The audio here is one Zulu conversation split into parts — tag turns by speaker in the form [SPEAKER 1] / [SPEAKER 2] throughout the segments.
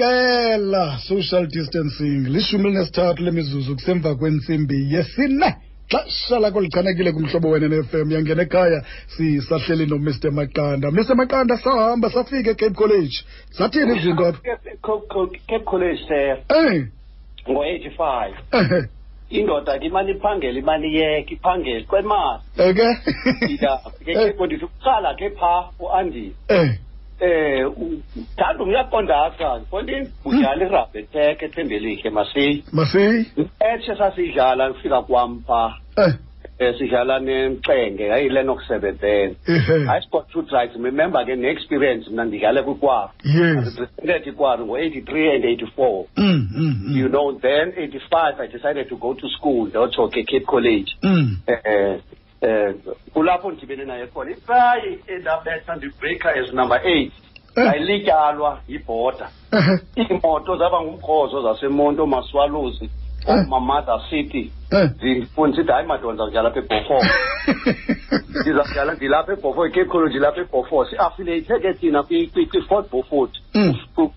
[SPEAKER 1] ebhekela social distancing lishumi elinesithathu lemizuzu kusemva kwentsimbi yesine xesha lakho lichanekile kumhlobo wena ne-fm yangena ekhaya sisahleli nomr maqanda mr maqanda sahamba safika ecape college zathini izinto apha
[SPEAKER 2] cape college sir
[SPEAKER 1] Eh,
[SPEAKER 2] ngo-eighty-five
[SPEAKER 1] ehe,
[SPEAKER 2] indoda ke imane iphangele imane iyeka iphangele kwemali
[SPEAKER 1] eke Eh,
[SPEAKER 2] ndidafike ndithi kuqala ke phaa uandile
[SPEAKER 1] eh,
[SPEAKER 2] um thanda umyaqondaka fontini udlala irabetec ethembelikhe masiyi
[SPEAKER 1] masiyi
[SPEAKER 2] etshe sasidlala ufika kwam phaa
[SPEAKER 1] eh,
[SPEAKER 2] um sidlala nemcenge yayilenox sebenzene
[SPEAKER 1] ehe,
[SPEAKER 2] hayi sport two drives remember ke ne-experience mna ndidlale kwikwaru
[SPEAKER 1] yes
[SPEAKER 2] ndirepresented ikwaru ngo-eighty-three and eighty-four
[SPEAKER 1] Mm, mm, mm.
[SPEAKER 2] you know then 85 i decided to go to school ndawutsho ke cape college
[SPEAKER 1] Mm.
[SPEAKER 2] eh eh kulapho ndidibene naye khona ifayi endabetha ndibreaker as number eight
[SPEAKER 1] Eh.
[SPEAKER 2] yayilityalwa yibhoda
[SPEAKER 1] ehe,
[SPEAKER 2] iimoto zaba ngumkhozo zasemonto maswaluzi
[SPEAKER 1] Eh.
[SPEAKER 2] omamother city
[SPEAKER 1] eh.
[SPEAKER 2] ndifundisa ithi hayi madoda ndizawudlala apha ebhofo ndizawudlala ndilapha ebhofo icape college ndilapha ebhofo siaffiliate ke thina kwi- kwi- kwi-fort beaufort
[SPEAKER 1] Mm,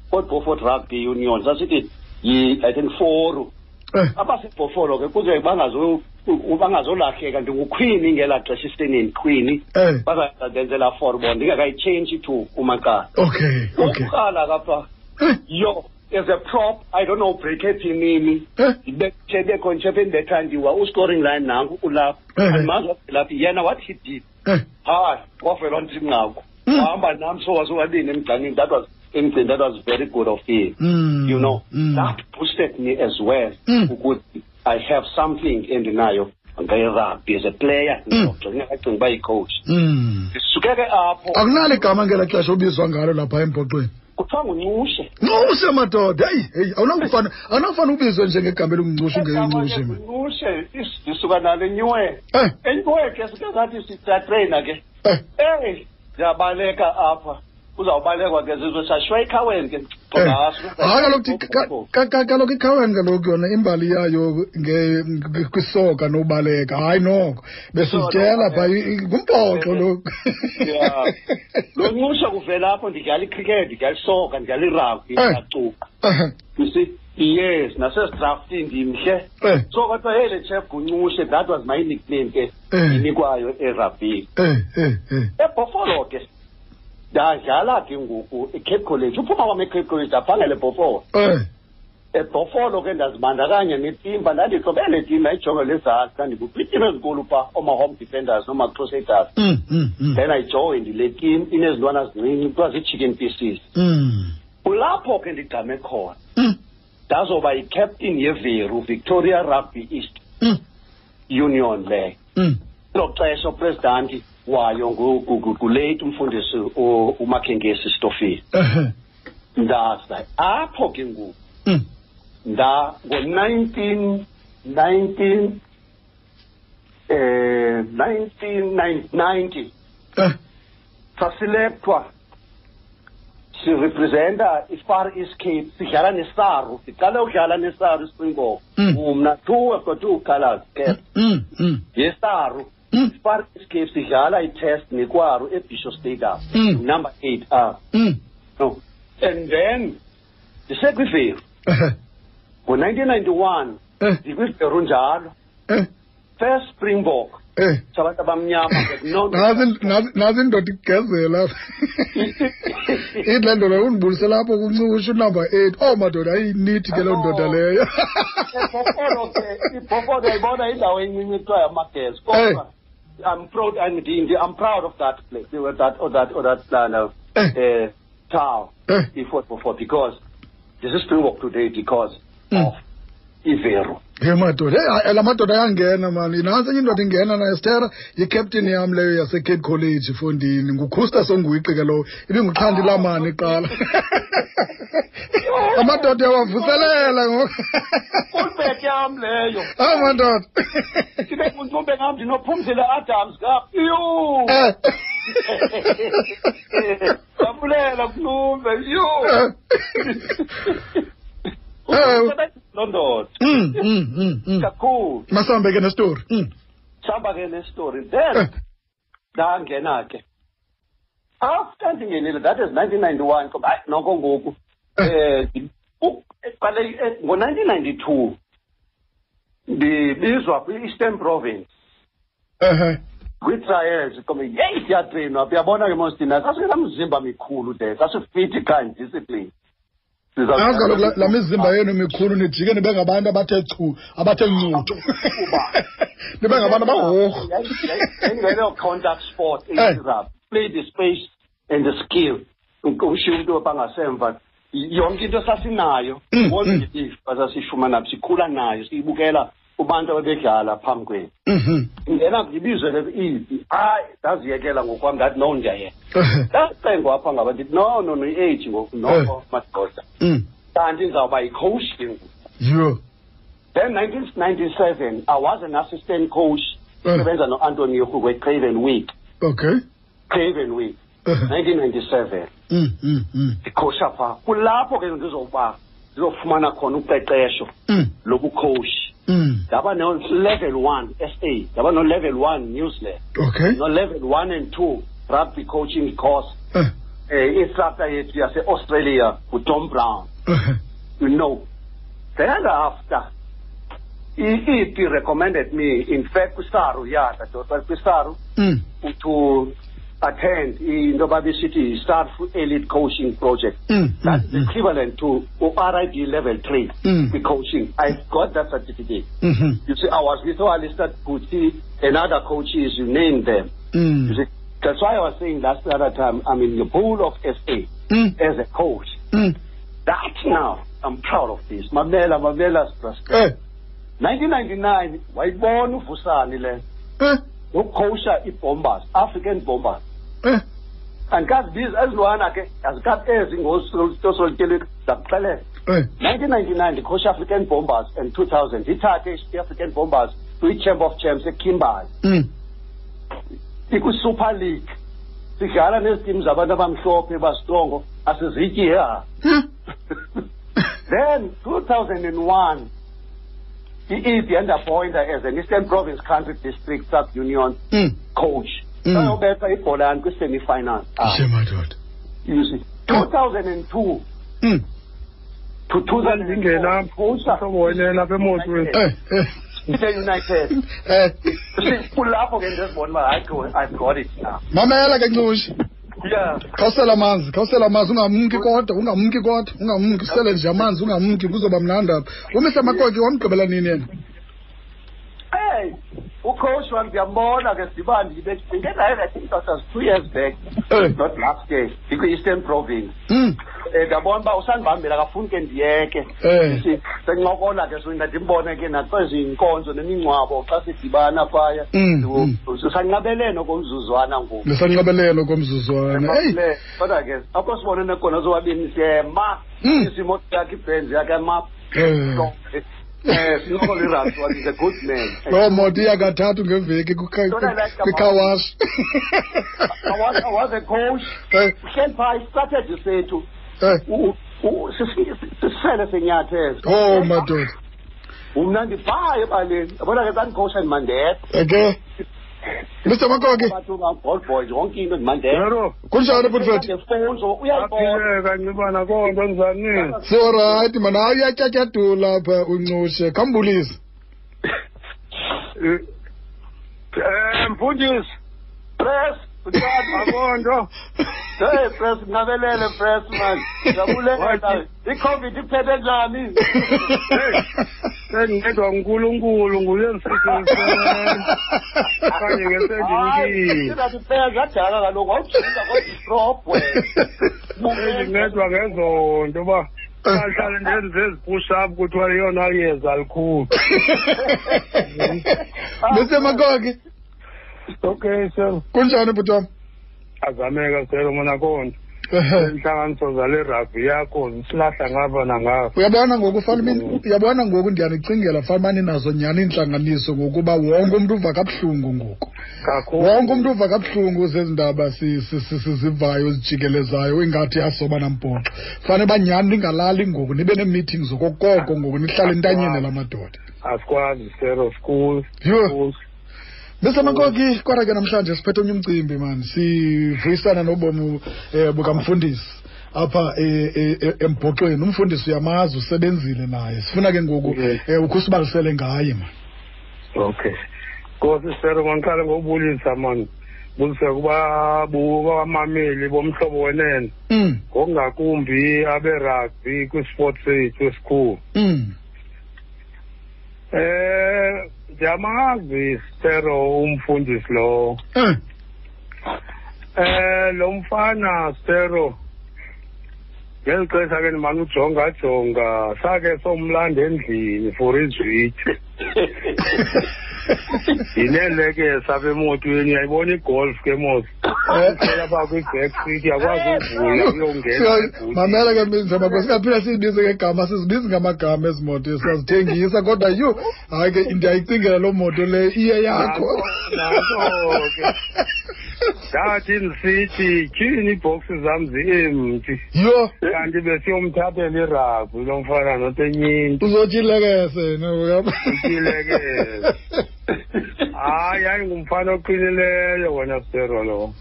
[SPEAKER 2] fort beaufort rugby union sasithi yi- i think foru
[SPEAKER 1] eh,
[SPEAKER 2] abasibhofolo ke kuze bangazo- u- bangazolahleka ndingukhwini ngelaa xesha isenini khwini
[SPEAKER 1] eh.
[SPEAKER 2] bazadenzela for bona ndingekayitshentshi to umaqala
[SPEAKER 1] okay okay
[SPEAKER 2] umqala kapha
[SPEAKER 1] Eh,
[SPEAKER 2] yo as a prop i don't know break ephinini
[SPEAKER 1] eh,
[SPEAKER 2] ibethe bekhontshe bendethandiwa uscoring line nanku ulapha
[SPEAKER 1] Eh.
[SPEAKER 2] andimazi wavelaphi yena what he did
[SPEAKER 1] eh.
[SPEAKER 2] hayi wavelwa ndinqaku
[SPEAKER 1] Mm.
[SPEAKER 2] wahamba nam so wasowabini emgcanini that was emgcini that was very good of him
[SPEAKER 1] Mm,
[SPEAKER 2] you know
[SPEAKER 1] mm.
[SPEAKER 2] that boosted me as well
[SPEAKER 1] Mm.
[SPEAKER 2] ukuthi i have something endinayo ngerugby as a player
[SPEAKER 1] Mm.
[SPEAKER 2] ndingacinga uba yicoach
[SPEAKER 1] Mm.
[SPEAKER 2] ndisuke ke apho
[SPEAKER 1] akunalo igama ngela xesha obizwa ngalo lapha embhoxweni
[SPEAKER 2] kuthiwa nguncushe
[SPEAKER 1] nqushe madoda heyi heyi awunakufana awunakufana ubizwe njengegama elingumncushe
[SPEAKER 2] Egama ke
[SPEAKER 1] ungenguncushe mina
[SPEAKER 2] nguncushe is- ndisuka nale nywe
[SPEAKER 1] eh
[SPEAKER 2] enywe ke sike sathi sitratreyina ke
[SPEAKER 1] eh
[SPEAKER 2] ey ndiyabaleka apha uzawubalekwa ke zizwe sashiywa ikhaweni ke
[SPEAKER 1] eh.
[SPEAKER 2] Ngaso.
[SPEAKER 1] hayi kaloku ti- ka- ka- ka- kaloku ikhaweni kaloku yona imbali yayo nge- nge- kwisoka nobaleka hayi noko besizityela pha i- i- ngumpoxo lo
[SPEAKER 2] Yeah. lo nqushe kuvela apho ndidlala icricket ndidlala isoka ndidlala irugby
[SPEAKER 1] Eh.
[SPEAKER 2] ndacuka
[SPEAKER 1] Eh,
[SPEAKER 2] You see, yes, nasezidraftini ndimhle.
[SPEAKER 1] eh,
[SPEAKER 2] So kwathiwa hey le chef Guncushe, that was my nickname ke
[SPEAKER 1] eh,
[SPEAKER 2] inikwayo erabhini.
[SPEAKER 1] eh, eh, eh.
[SPEAKER 2] EBhofolo ke ndadlala ke ngoku eCape College. Uphuma wam eCape College ndaphangela eBhofolo.
[SPEAKER 1] Eh,
[SPEAKER 2] EBhofolo ke ndazibandakanya netimba ndandihlobele timba ijongo lezantsi ndandikuphi itim ezinkulu phaa ooma-home defenders nooma-crusaders.
[SPEAKER 1] mm, mm, mm,
[SPEAKER 2] Then I joined le team inezintwana zincinci kuthiwa zii-chicken pieces.
[SPEAKER 1] mm,
[SPEAKER 2] Kulapho ke ndigqame khona
[SPEAKER 1] mm,
[SPEAKER 2] ndazoba yicaptain yeVeru Victoria Rugby East.
[SPEAKER 1] mm,
[SPEAKER 2] union leyo
[SPEAKER 1] mm.
[SPEAKER 2] elo xesha upresidenti wayo ngulate umfundisi u- umakhenkesi stofile
[SPEAKER 1] Eh,
[SPEAKER 2] ndaza apho ke ngoku
[SPEAKER 1] mm.
[SPEAKER 2] nda ngo-nineteen nineteen um nineteen ninety
[SPEAKER 1] Eh,
[SPEAKER 2] sasilephwa sirepresenta i-far east cape sidlala nesaru siqale udlala nesaru ispringbok
[SPEAKER 1] Mm.
[SPEAKER 2] mna two i've got two colors cap
[SPEAKER 1] mm, mm,
[SPEAKER 2] yesaru
[SPEAKER 1] mm,
[SPEAKER 2] Spar escape sidlala i-test nekwaru ebisho stadium
[SPEAKER 1] Mm.
[SPEAKER 2] number eight up
[SPEAKER 1] mm.
[SPEAKER 2] no and then ndisekwiveru
[SPEAKER 1] Eh,
[SPEAKER 2] ngo-nineteen ninety-one
[SPEAKER 1] eh,
[SPEAKER 2] ndikwiveru njalo
[SPEAKER 1] eh,
[SPEAKER 2] first springbok
[SPEAKER 1] eh.
[SPEAKER 2] sabantu abamnyama ke
[SPEAKER 1] Nazi
[SPEAKER 2] non-
[SPEAKER 1] nazi- nazi indoda igezela ithi le ndoda undibulise lapho kuncukusha unumber eight oh madoda ayinithi ke loo ndoda leyo
[SPEAKER 2] Ibhofolo ke ibhofolo uyayibona indawo encinci kuthiwa yamagesi kodwa i'm proud I'm, i'm proud of that place or that or that or that uh,
[SPEAKER 1] Eh,
[SPEAKER 2] uh, town
[SPEAKER 1] eh,
[SPEAKER 2] before before because this is Springbok today because
[SPEAKER 1] Mm.
[SPEAKER 2] of Ivero.
[SPEAKER 1] ye madoda Hey, hayi, la madoda ayangena mani nantsi enye indoda ingena nayo stera yikapteni yam leyo yasecape college fondini ngukhusta songuyiqi ke lowo ibinguqhandilamani iqala amadoda uyawavuselela ngoku
[SPEAKER 2] Ulbeke yam leyo.
[SPEAKER 1] hayi madoda
[SPEAKER 2] Sibe kuntumbe ngam ndinophumzile Adams ngap. Yho.
[SPEAKER 1] Eh.
[SPEAKER 2] Sabulela kuntumbe. Yho.
[SPEAKER 1] Eh.
[SPEAKER 2] Oh,
[SPEAKER 1] Eh.
[SPEAKER 2] Londodo.
[SPEAKER 1] Mm, mm, mm, mm.
[SPEAKER 2] Kakhulu.
[SPEAKER 1] masihambe ke nesitori Mm.
[SPEAKER 2] Samba ke le story.
[SPEAKER 1] Eh,
[SPEAKER 2] Then ndangena ke. After ndingenile that is 1991 ngoba hayi noko ngoku
[SPEAKER 1] Uh.
[SPEAKER 2] eh u- eqale e- ngo-1992 ndibizwa kwi-eastern province
[SPEAKER 1] ehe
[SPEAKER 2] kwi-trials kome yeyi siyatreyinwa uyabona ke mostina sasingenamzimba mikhulu de sasifithi kanye discipline
[SPEAKER 1] Hayi kaloku la- la mizimba yenu mikhulu nijike nibe ngabantu abathe chu abathe ncuthu nibe ngabantu abahorhu
[SPEAKER 2] engeno contact sport irugby play the space and the skill ushiye umntu bangasemva yonke into sasinayo
[SPEAKER 1] Mm, mm.
[SPEAKER 2] positive sasishumana sikhula nayo siyibukela kubantu ababedlala phambi kwethu
[SPEAKER 1] Mhm.
[SPEAKER 2] ndingena ndibizwe le easy hayi ndaziyekela ngokwam ndathi no ndiyayeka
[SPEAKER 1] Ehe.
[SPEAKER 2] ndacengwa apha ngaba ndithi no no no-age ngoku noko madoda
[SPEAKER 1] Mm.
[SPEAKER 2] kanti ndizawuba yicoach ke ngoku
[SPEAKER 1] yho
[SPEAKER 2] Then 1997, I was an assistant coach.
[SPEAKER 1] Mm.
[SPEAKER 2] Sebenza no Antonio Hugwe Craven Week.
[SPEAKER 1] okay
[SPEAKER 2] Craven Week.
[SPEAKER 1] Ehe.
[SPEAKER 2] 1997.
[SPEAKER 1] Mm, mm, mm,
[SPEAKER 2] Ndikhosha apha. Kulapho ke ndizoba ndizofumana khona uqeqesho
[SPEAKER 1] mm,
[SPEAKER 2] lobucoach.
[SPEAKER 1] mm.
[SPEAKER 2] Ndaba no level 1 SA. Ndaba no level 1 newsletter.
[SPEAKER 1] okay
[SPEAKER 2] No level 1 and 2 rugby coaching course.
[SPEAKER 1] Eh,
[SPEAKER 2] Eh instructor yethu yase Australia uTom Brown.
[SPEAKER 1] ehe.
[SPEAKER 2] you know. Thereafter, he, he recommended me, in fact, Kusaru, yeah, that was well, Kusaru,
[SPEAKER 1] Mm.
[SPEAKER 2] to attend in Dobabi City, start elite coaching project.
[SPEAKER 1] Mm,
[SPEAKER 2] That's
[SPEAKER 1] mm, mm.
[SPEAKER 2] equivalent to RIB level 3,
[SPEAKER 1] Mm.
[SPEAKER 2] the coaching. I got that certificate.
[SPEAKER 1] Mhm.
[SPEAKER 2] You see, I was with Alistair Kuti and other coaches, you name them. You
[SPEAKER 1] Mm.
[SPEAKER 2] see, that's why I was saying that's the other time I'm in the pool of SA
[SPEAKER 1] Mm,
[SPEAKER 2] as a coach.
[SPEAKER 1] mm.
[SPEAKER 2] That now, I'm proud of this. Mamela, Mamela, Strasbourg.
[SPEAKER 1] Eh,
[SPEAKER 2] 1999 wayibona uvusani le
[SPEAKER 1] eh,
[SPEAKER 2] nokukhowusha i-bombers african bombers
[SPEAKER 1] eh.
[SPEAKER 2] andikazi bizi ezilwana ke azikazi ezi ngososolityelik zakuxelela
[SPEAKER 1] Eh,
[SPEAKER 2] 1999 ndikhowusha african bombers and 2000 ndithathe i-african bombers kwi-champ of champs ekimbali
[SPEAKER 1] mm.
[SPEAKER 2] ikwi-super league sidlala nezitimu zabantu abamhlophe bastrongo asizityi yeha
[SPEAKER 1] Huh?
[SPEAKER 2] Then 2001, he is then appointed as an Eastern Province Country District Sub Union
[SPEAKER 1] Mm.
[SPEAKER 2] coach.
[SPEAKER 1] Mm.
[SPEAKER 2] Sayobetha ibhola kwi-semi finals.
[SPEAKER 1] Ishe madoda.
[SPEAKER 2] Ah, You see, 2002
[SPEAKER 1] Mm.
[SPEAKER 2] to 2004, coach
[SPEAKER 3] lapha emotweni
[SPEAKER 1] Eh, eh.
[SPEAKER 2] the United.
[SPEAKER 1] Eh,
[SPEAKER 2] See, kulapho ke ndizibona uba hayi go- I've got it now.
[SPEAKER 1] mamela ke ncushi
[SPEAKER 2] Yeah.
[SPEAKER 1] khawusela amanzi khawusela amanzi ungamki kodwa ungamki kodwa ungamki usele nje amanzi ungamki kuzoba mnandapha umihle makoti wamgqibela nini yena
[SPEAKER 2] Hey, ucoach wam ndiyambona ke sibani ndingenaye I think that was two years back,
[SPEAKER 1] Eh.
[SPEAKER 2] not last year, ikwi-Eastern Province.
[SPEAKER 1] Mm.
[SPEAKER 2] Eh, ndabona uba usandibambela kafuni ke ndiyeke
[SPEAKER 1] Eh.
[SPEAKER 2] Si- sencokola ke so ndimbone ke nakwezinkonzo nemingcwabo xa sidibana phaya
[SPEAKER 1] Mm,
[SPEAKER 2] Siwu-
[SPEAKER 1] mm.
[SPEAKER 2] sisanqabeleno komzuzwana ngoku
[SPEAKER 1] nesanqabelelo komzuzwana eyi
[SPEAKER 2] Eyi, kodwa ke apho sibonene khona sobabini siyema
[SPEAKER 1] Mm.
[SPEAKER 2] isimo yakhe ibhenzi yakhe ma
[SPEAKER 1] Eh.
[SPEAKER 2] eh sinokole irasi wathi the good man
[SPEAKER 1] loo moto iyakathathu ngeveki
[SPEAKER 2] Don't I like the
[SPEAKER 1] kwikhawashi
[SPEAKER 2] I was, I was a coach
[SPEAKER 1] Eh,
[SPEAKER 2] uhleli phaa isistrategy sethu
[SPEAKER 1] eh.
[SPEAKER 2] u- u- sisi- sisele senyathelo
[SPEAKER 1] oh madoda
[SPEAKER 2] mna ndibhaye ebaleni yabona ke zandikhosha ndimandedwa
[SPEAKER 1] eke mr eh, makoki
[SPEAKER 2] abantu ngaball boys yonke into ndimandedwa
[SPEAKER 3] lero
[SPEAKER 1] kunjani butfethu
[SPEAKER 2] ndefowuni so uyayibona
[SPEAKER 3] aphileka ncibana konto njani
[SPEAKER 1] siorayiti mana hayi uyatyatyadula apha uncutshe khambulise
[SPEAKER 3] um mfundisi
[SPEAKER 2] press uqala
[SPEAKER 3] akonto
[SPEAKER 2] hey press ngabelele press man jabulela
[SPEAKER 3] Wathi-
[SPEAKER 2] i-covid iphethe njani
[SPEAKER 3] sendedwa ngunkulunkulu nguye msithiseyo okanye
[SPEAKER 2] hayi
[SPEAKER 3] ngesendimkile
[SPEAKER 2] ndathi phela ngadala kaloku wawujinga kodistrop wena
[SPEAKER 3] sendincedwa ngezonto uba ahlale ndenze ezipushup kuthiwa leyona yeza likhulu
[SPEAKER 1] mr makoki
[SPEAKER 3] okay selo
[SPEAKER 1] kunjani bhuti wam
[SPEAKER 3] azameka selo mona konto Eh. intlanganiso zale ravi yakho zisilahla ngapha nangapha
[SPEAKER 1] uyabona ngoku fanumini uyabona ngoku ndiyanicingela fanumane nazo nyhani iintlanganiso ngokuba wonke umntu uva kabuhlungu ngoku wonke umntu uva kabuhlungu zezi ndaba si- si- si- sizivayo zijikelezayo ingathi asoba nampoxo fanele uba nyhani ningalali ngoku nibe nee-meetings okokoko ngoku nihlale entanyeni la madoda
[SPEAKER 3] asikwazi sero school
[SPEAKER 1] yho
[SPEAKER 3] schools
[SPEAKER 1] besemakoki kodwa ke namhlanje siphethe omnye umcimbi mani sivuyisana nobomi um eh, bukamfundisi apha eh, eh, eh, embhoxweni umfundisi uyamazi usebenzile naye sifuna ke ngoku
[SPEAKER 4] Yes.
[SPEAKER 1] eh, ukhe usibalisele ngaye ma
[SPEAKER 4] okay ngoku sisere mandiqale ngobulisa mani bulise kubabamameli bomhlobo wenene
[SPEAKER 1] mm,
[SPEAKER 4] ngokungakumbi aberugby kwisport sethu esikhulu
[SPEAKER 1] mm,
[SPEAKER 4] um ndiyamazi stero umfundisi lowo
[SPEAKER 1] eh,
[SPEAKER 4] Eh lo mfana Stero ngeli xesha ke ndimane ujonga jonga sake somlanda endlini for izwitshi yineleke sapha emotweni uyayibona igolf ke mos
[SPEAKER 1] Eh.
[SPEAKER 4] apha kwi-back seat yakwazi uvula uyongena
[SPEAKER 1] mamela ke minzima besingaphila siyibize ngegama sizibizi ngamagama ezi moto siyazithengisa kodwa yhu hayi ke ndiyayicingela loo moto leyo iye yakho
[SPEAKER 4] Nanto- nanto ke. ndathi ndisithi tyhini iibhoksi zam
[SPEAKER 1] Eh.
[SPEAKER 4] ziemti
[SPEAKER 1] yho
[SPEAKER 4] kanti besiyomthathela irabhi lo mfana notenyinto
[SPEAKER 1] uzotyilekese noyabo
[SPEAKER 4] Utyilekese. hayi ayingumfana oqinileyo wena sero lo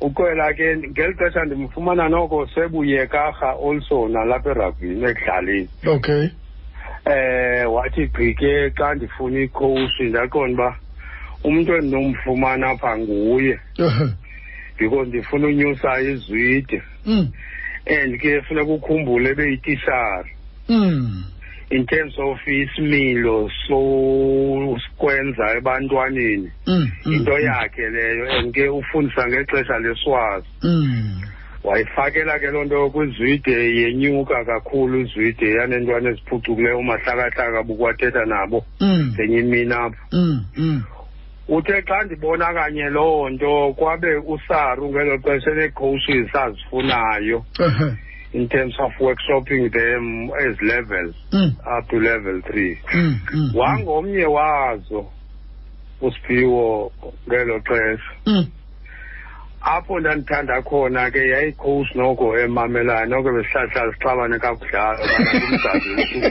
[SPEAKER 4] ukwela ke ngeli xesha ndimfumana noko sebuyekarha also nalapha eragbini ekudlaleni
[SPEAKER 1] okay
[SPEAKER 4] um wathi gqi ke xa ndifuna ikhoshi ndaqonda uba umntu endinomfumana apha nguye because ndifuna unyusa izwide
[SPEAKER 1] mm,
[SPEAKER 4] and ke funeka ukhumbule ebeyitishara
[SPEAKER 1] mm,
[SPEAKER 4] in terms of isimilo sokwenza ebantwaneni
[SPEAKER 1] mm,
[SPEAKER 4] into
[SPEAKER 1] mm,
[SPEAKER 4] yakhe leyo and ke ufundisa ngexesha leswazi
[SPEAKER 1] mm.
[SPEAKER 4] wayifakela ke loo nto kwizwide yenyuka kakhulu izwide yaneentwana eziphucukileyo umahlakahlaka bukwathetha nabo
[SPEAKER 1] Mm,
[SPEAKER 4] zenye imini apho
[SPEAKER 1] mm, mm.
[SPEAKER 4] uthe xa ndibona kanye loo nto kwabe usaru ngelo xesha eneecoaches azifunayo
[SPEAKER 1] Ehe.
[SPEAKER 4] in terms of workshopping them as levels
[SPEAKER 1] Mm,
[SPEAKER 4] up to level three
[SPEAKER 1] mm, mm, mm,
[SPEAKER 4] wangomnye wazo usiphiwo ngelo xesha
[SPEAKER 1] mm.
[SPEAKER 4] apho ndandithanda khona ke yayicoach noko emamelana noko besihlahla sixabane kakudlala umdali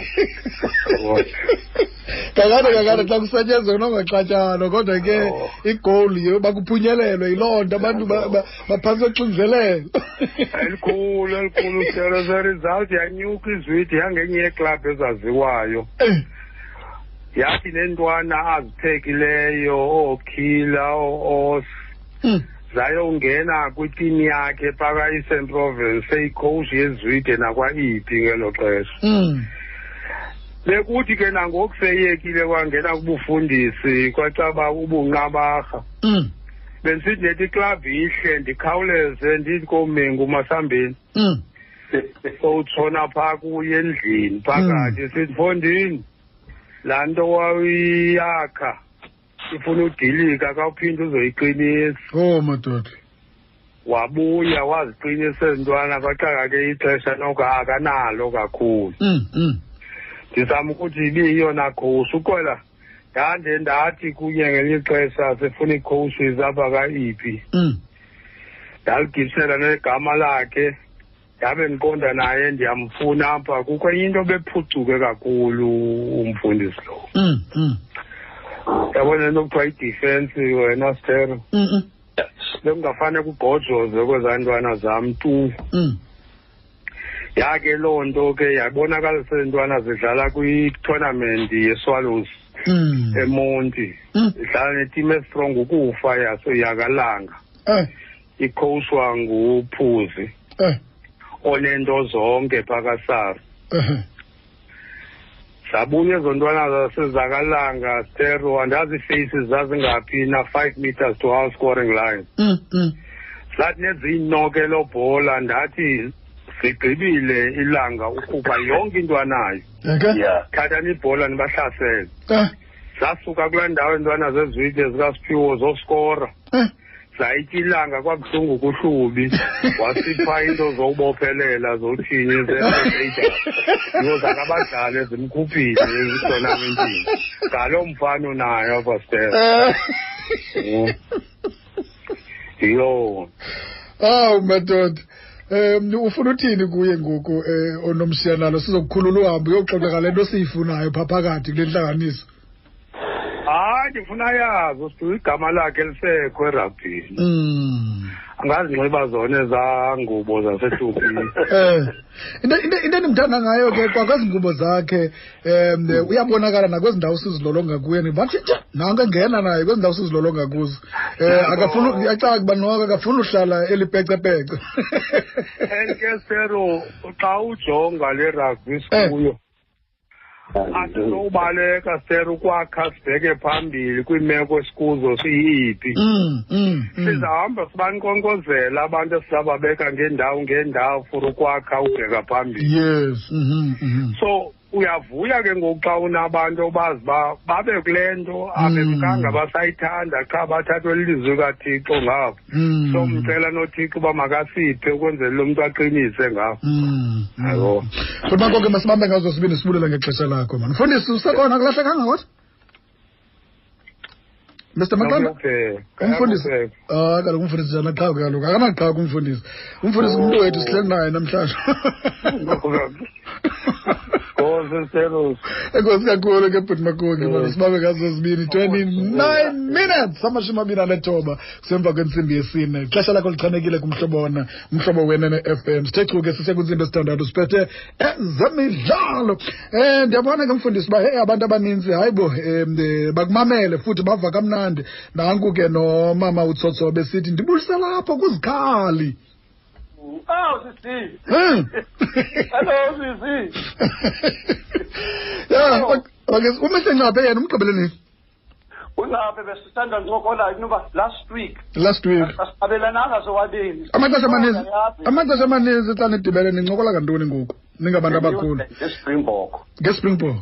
[SPEAKER 1] kakade kakade xa kusetyenzwa nomaxatyano kodwa ke
[SPEAKER 4] Oh.
[SPEAKER 1] igowuli ye bakuphunyelelwe yiloo nto abantu ba- ba- baphantsi koxinzelelo
[SPEAKER 4] elikhulu elikhulu selo seresult yanyuka izwidi yangenye yeeklabhu ezaziwayo
[SPEAKER 1] Eh,
[SPEAKER 4] yathi neentwana aziphekileyo ookhila oo-os
[SPEAKER 1] mm,
[SPEAKER 4] zayongena kwitimu yakhe phaka i-st province seyicoach yezwide nakwa-ep ngelo xesha
[SPEAKER 1] mm,
[SPEAKER 4] bekuthi ke nangoku seyekile kwangena kubufundisi kwacaba ubunqabarha
[SPEAKER 1] mm,
[SPEAKER 4] bendisithi nethi iklabhu ihle ndikhawuleze ndithi koomengu masambeni
[SPEAKER 1] mm.
[SPEAKER 4] sowutshona phaa kuye endlini phakathi sithi fondini laa nto wawuyakha ifuna udilika kawuphinde uzoyiqinisa
[SPEAKER 1] oh madoda
[SPEAKER 4] wabuya waziqinisa ezi ntwana kwaxaka ke ixesha noko akanalo kakhulu
[SPEAKER 1] Mm, mm,
[SPEAKER 4] ndizama ukuthi ibiyiyona khosi ukwela ndande ndathi kunye ngelinye ixesha sifuna iicoaches apha ka-iphi
[SPEAKER 1] mm.
[SPEAKER 4] ndaligibisela negama lakhe ndabe ndiqonda naye ndiyamfuna apha kukho enye into bephucuke kakhulu umfundisi lo
[SPEAKER 1] Mm, mm,
[SPEAKER 4] yabona into kuthiwa idefensi wena stero
[SPEAKER 1] mm, mm,
[SPEAKER 4] bekungafane kugqojozwe kwezaa ntwana zam tu
[SPEAKER 1] mm.
[SPEAKER 4] yake loo nto ke yabonakalisa iintwana zidlala kwitournament yeswallows
[SPEAKER 1] Mm,
[SPEAKER 4] emonti
[SPEAKER 1] mm.
[SPEAKER 4] idlala netim estrong ukufa yasoyakalanga
[SPEAKER 1] Eh,
[SPEAKER 4] ikhowushwa nguphuzi
[SPEAKER 1] eh,
[SPEAKER 4] onento zonke phakasari
[SPEAKER 1] eh.
[SPEAKER 4] zabuya ezo ntwana zasezakalanga stero andazi iifeyisi zazingaphi na-five meters to our scoring line
[SPEAKER 1] Mm, mm,
[SPEAKER 4] zathi neziyinoke loo bhola ndathi zigqibile ilanga ukhupha yonke into anayo
[SPEAKER 1] okay.
[SPEAKER 2] Yeah.
[SPEAKER 4] thathani ibhola nibahlasele
[SPEAKER 1] Eh,
[SPEAKER 4] zasuka kulaa ndawo iintwana zezwide zikasiphiwo zoskora
[SPEAKER 1] eh.
[SPEAKER 4] zayityilanga kwabuhlungu kuhlubi wasipha into zowubophelela zothini yozakabadlali zimkhuphile ezitonamentini ngaloo mfana unayo apastel
[SPEAKER 1] Eh.
[SPEAKER 4] yho
[SPEAKER 1] awu madoda um ufuna uthini kuye ngoku um onomshiya nalo sizokukhulula uhambo uyoxoxa ngale nto siyifunayo phaa phakathi kule ntlanganiso
[SPEAKER 4] hayi
[SPEAKER 3] hayi ndifuna yazi usibiwa igama lakhe lisekho erabhini
[SPEAKER 1] Mm.
[SPEAKER 3] angazinxiba zona ezaa ngubo zasehlupini
[SPEAKER 1] Eh. Into into- into endimthanda ngayo ke kwakwezi ngubo zakhe um uyabonakala nakwezi ndawo sizilolonga kuye ndibathi "Tya, nanko engena naye kwezi ndawo sizilolonga kuzo um akafuni acaka uba noko akafuni uhlala elipecepece
[SPEAKER 3] enkesero xa ujonga le
[SPEAKER 1] Eh.
[SPEAKER 3] rugby sikuyo asizowubaleka ser ukwakha sibheke phambili kwiimeko esikuzo siyiphi
[SPEAKER 1] Mm, mm, mm.
[SPEAKER 3] sizahamba sibankqonqozela abantu esizababeka ngeendawo ngeendawo for ukwakha ubheka phambili
[SPEAKER 1] yes mhm, mhm.
[SPEAKER 3] so uyavuya ke ngoku xa unabantu obazi uba babe kule nto
[SPEAKER 1] Mm.
[SPEAKER 3] abemkanga basayithanda qha bathathwe lilizwi kathixo ngabo
[SPEAKER 1] Mm.
[SPEAKER 3] somcela nothixo uba makasiphe ukwenzela lo mntu aqinise ngabo
[SPEAKER 1] Mm, mm.
[SPEAKER 3] Yabo.
[SPEAKER 1] futhi bakho ke masibambe ngazo sibini sibulela ngexesha lakho mani mfundisi usekhona akulahlekanga kodwa mr maqanda
[SPEAKER 3] Nokupheka,
[SPEAKER 1] umfundisi
[SPEAKER 3] nokupheka.
[SPEAKER 1] ah kaloku umfundisi janaqhaka kaloku akanaqhaka umfundisi umfundisi ngumntu wethu sihleli naye namhlanje
[SPEAKER 3] Ngozi Selos.
[SPEAKER 1] enkosi kakhulu ke bhuti makoki
[SPEAKER 3] Mm.
[SPEAKER 1] sibabe ngazo zibini
[SPEAKER 3] yeah.
[SPEAKER 1] 29 minutes amashumi amabini anethoba kusemva kwentsimbi yesine ixesha lakho lichanekile kumhlobo wona umhlobo wenene-fm sithe chu ke sise kwintsimbi esithandathu siphethe ezemidlalo um ndiyabona ke mfundisi uba hey abantu abaninzi hayi bo um bakumamele futhi bava kamnandi nanku ke nomama utsotsobe sithi ndibulise lapho kuzikhali
[SPEAKER 2] Oh, sisi.
[SPEAKER 1] Hmm.
[SPEAKER 2] Hello, sisi.
[SPEAKER 1] ya ok- okay umihle ncaphe yena umgqibelelisi
[SPEAKER 2] Unabe besisanda ncokola inoba last week
[SPEAKER 1] last week
[SPEAKER 2] abelananga sobabini.
[SPEAKER 1] amaxesha amaninzi
[SPEAKER 2] Yazi,
[SPEAKER 1] amaxesha amaninzi xa nidibene nincokola ngantoni ngoku ningabantu abakhulu
[SPEAKER 2] ngeSpringbok.
[SPEAKER 1] ngespringbok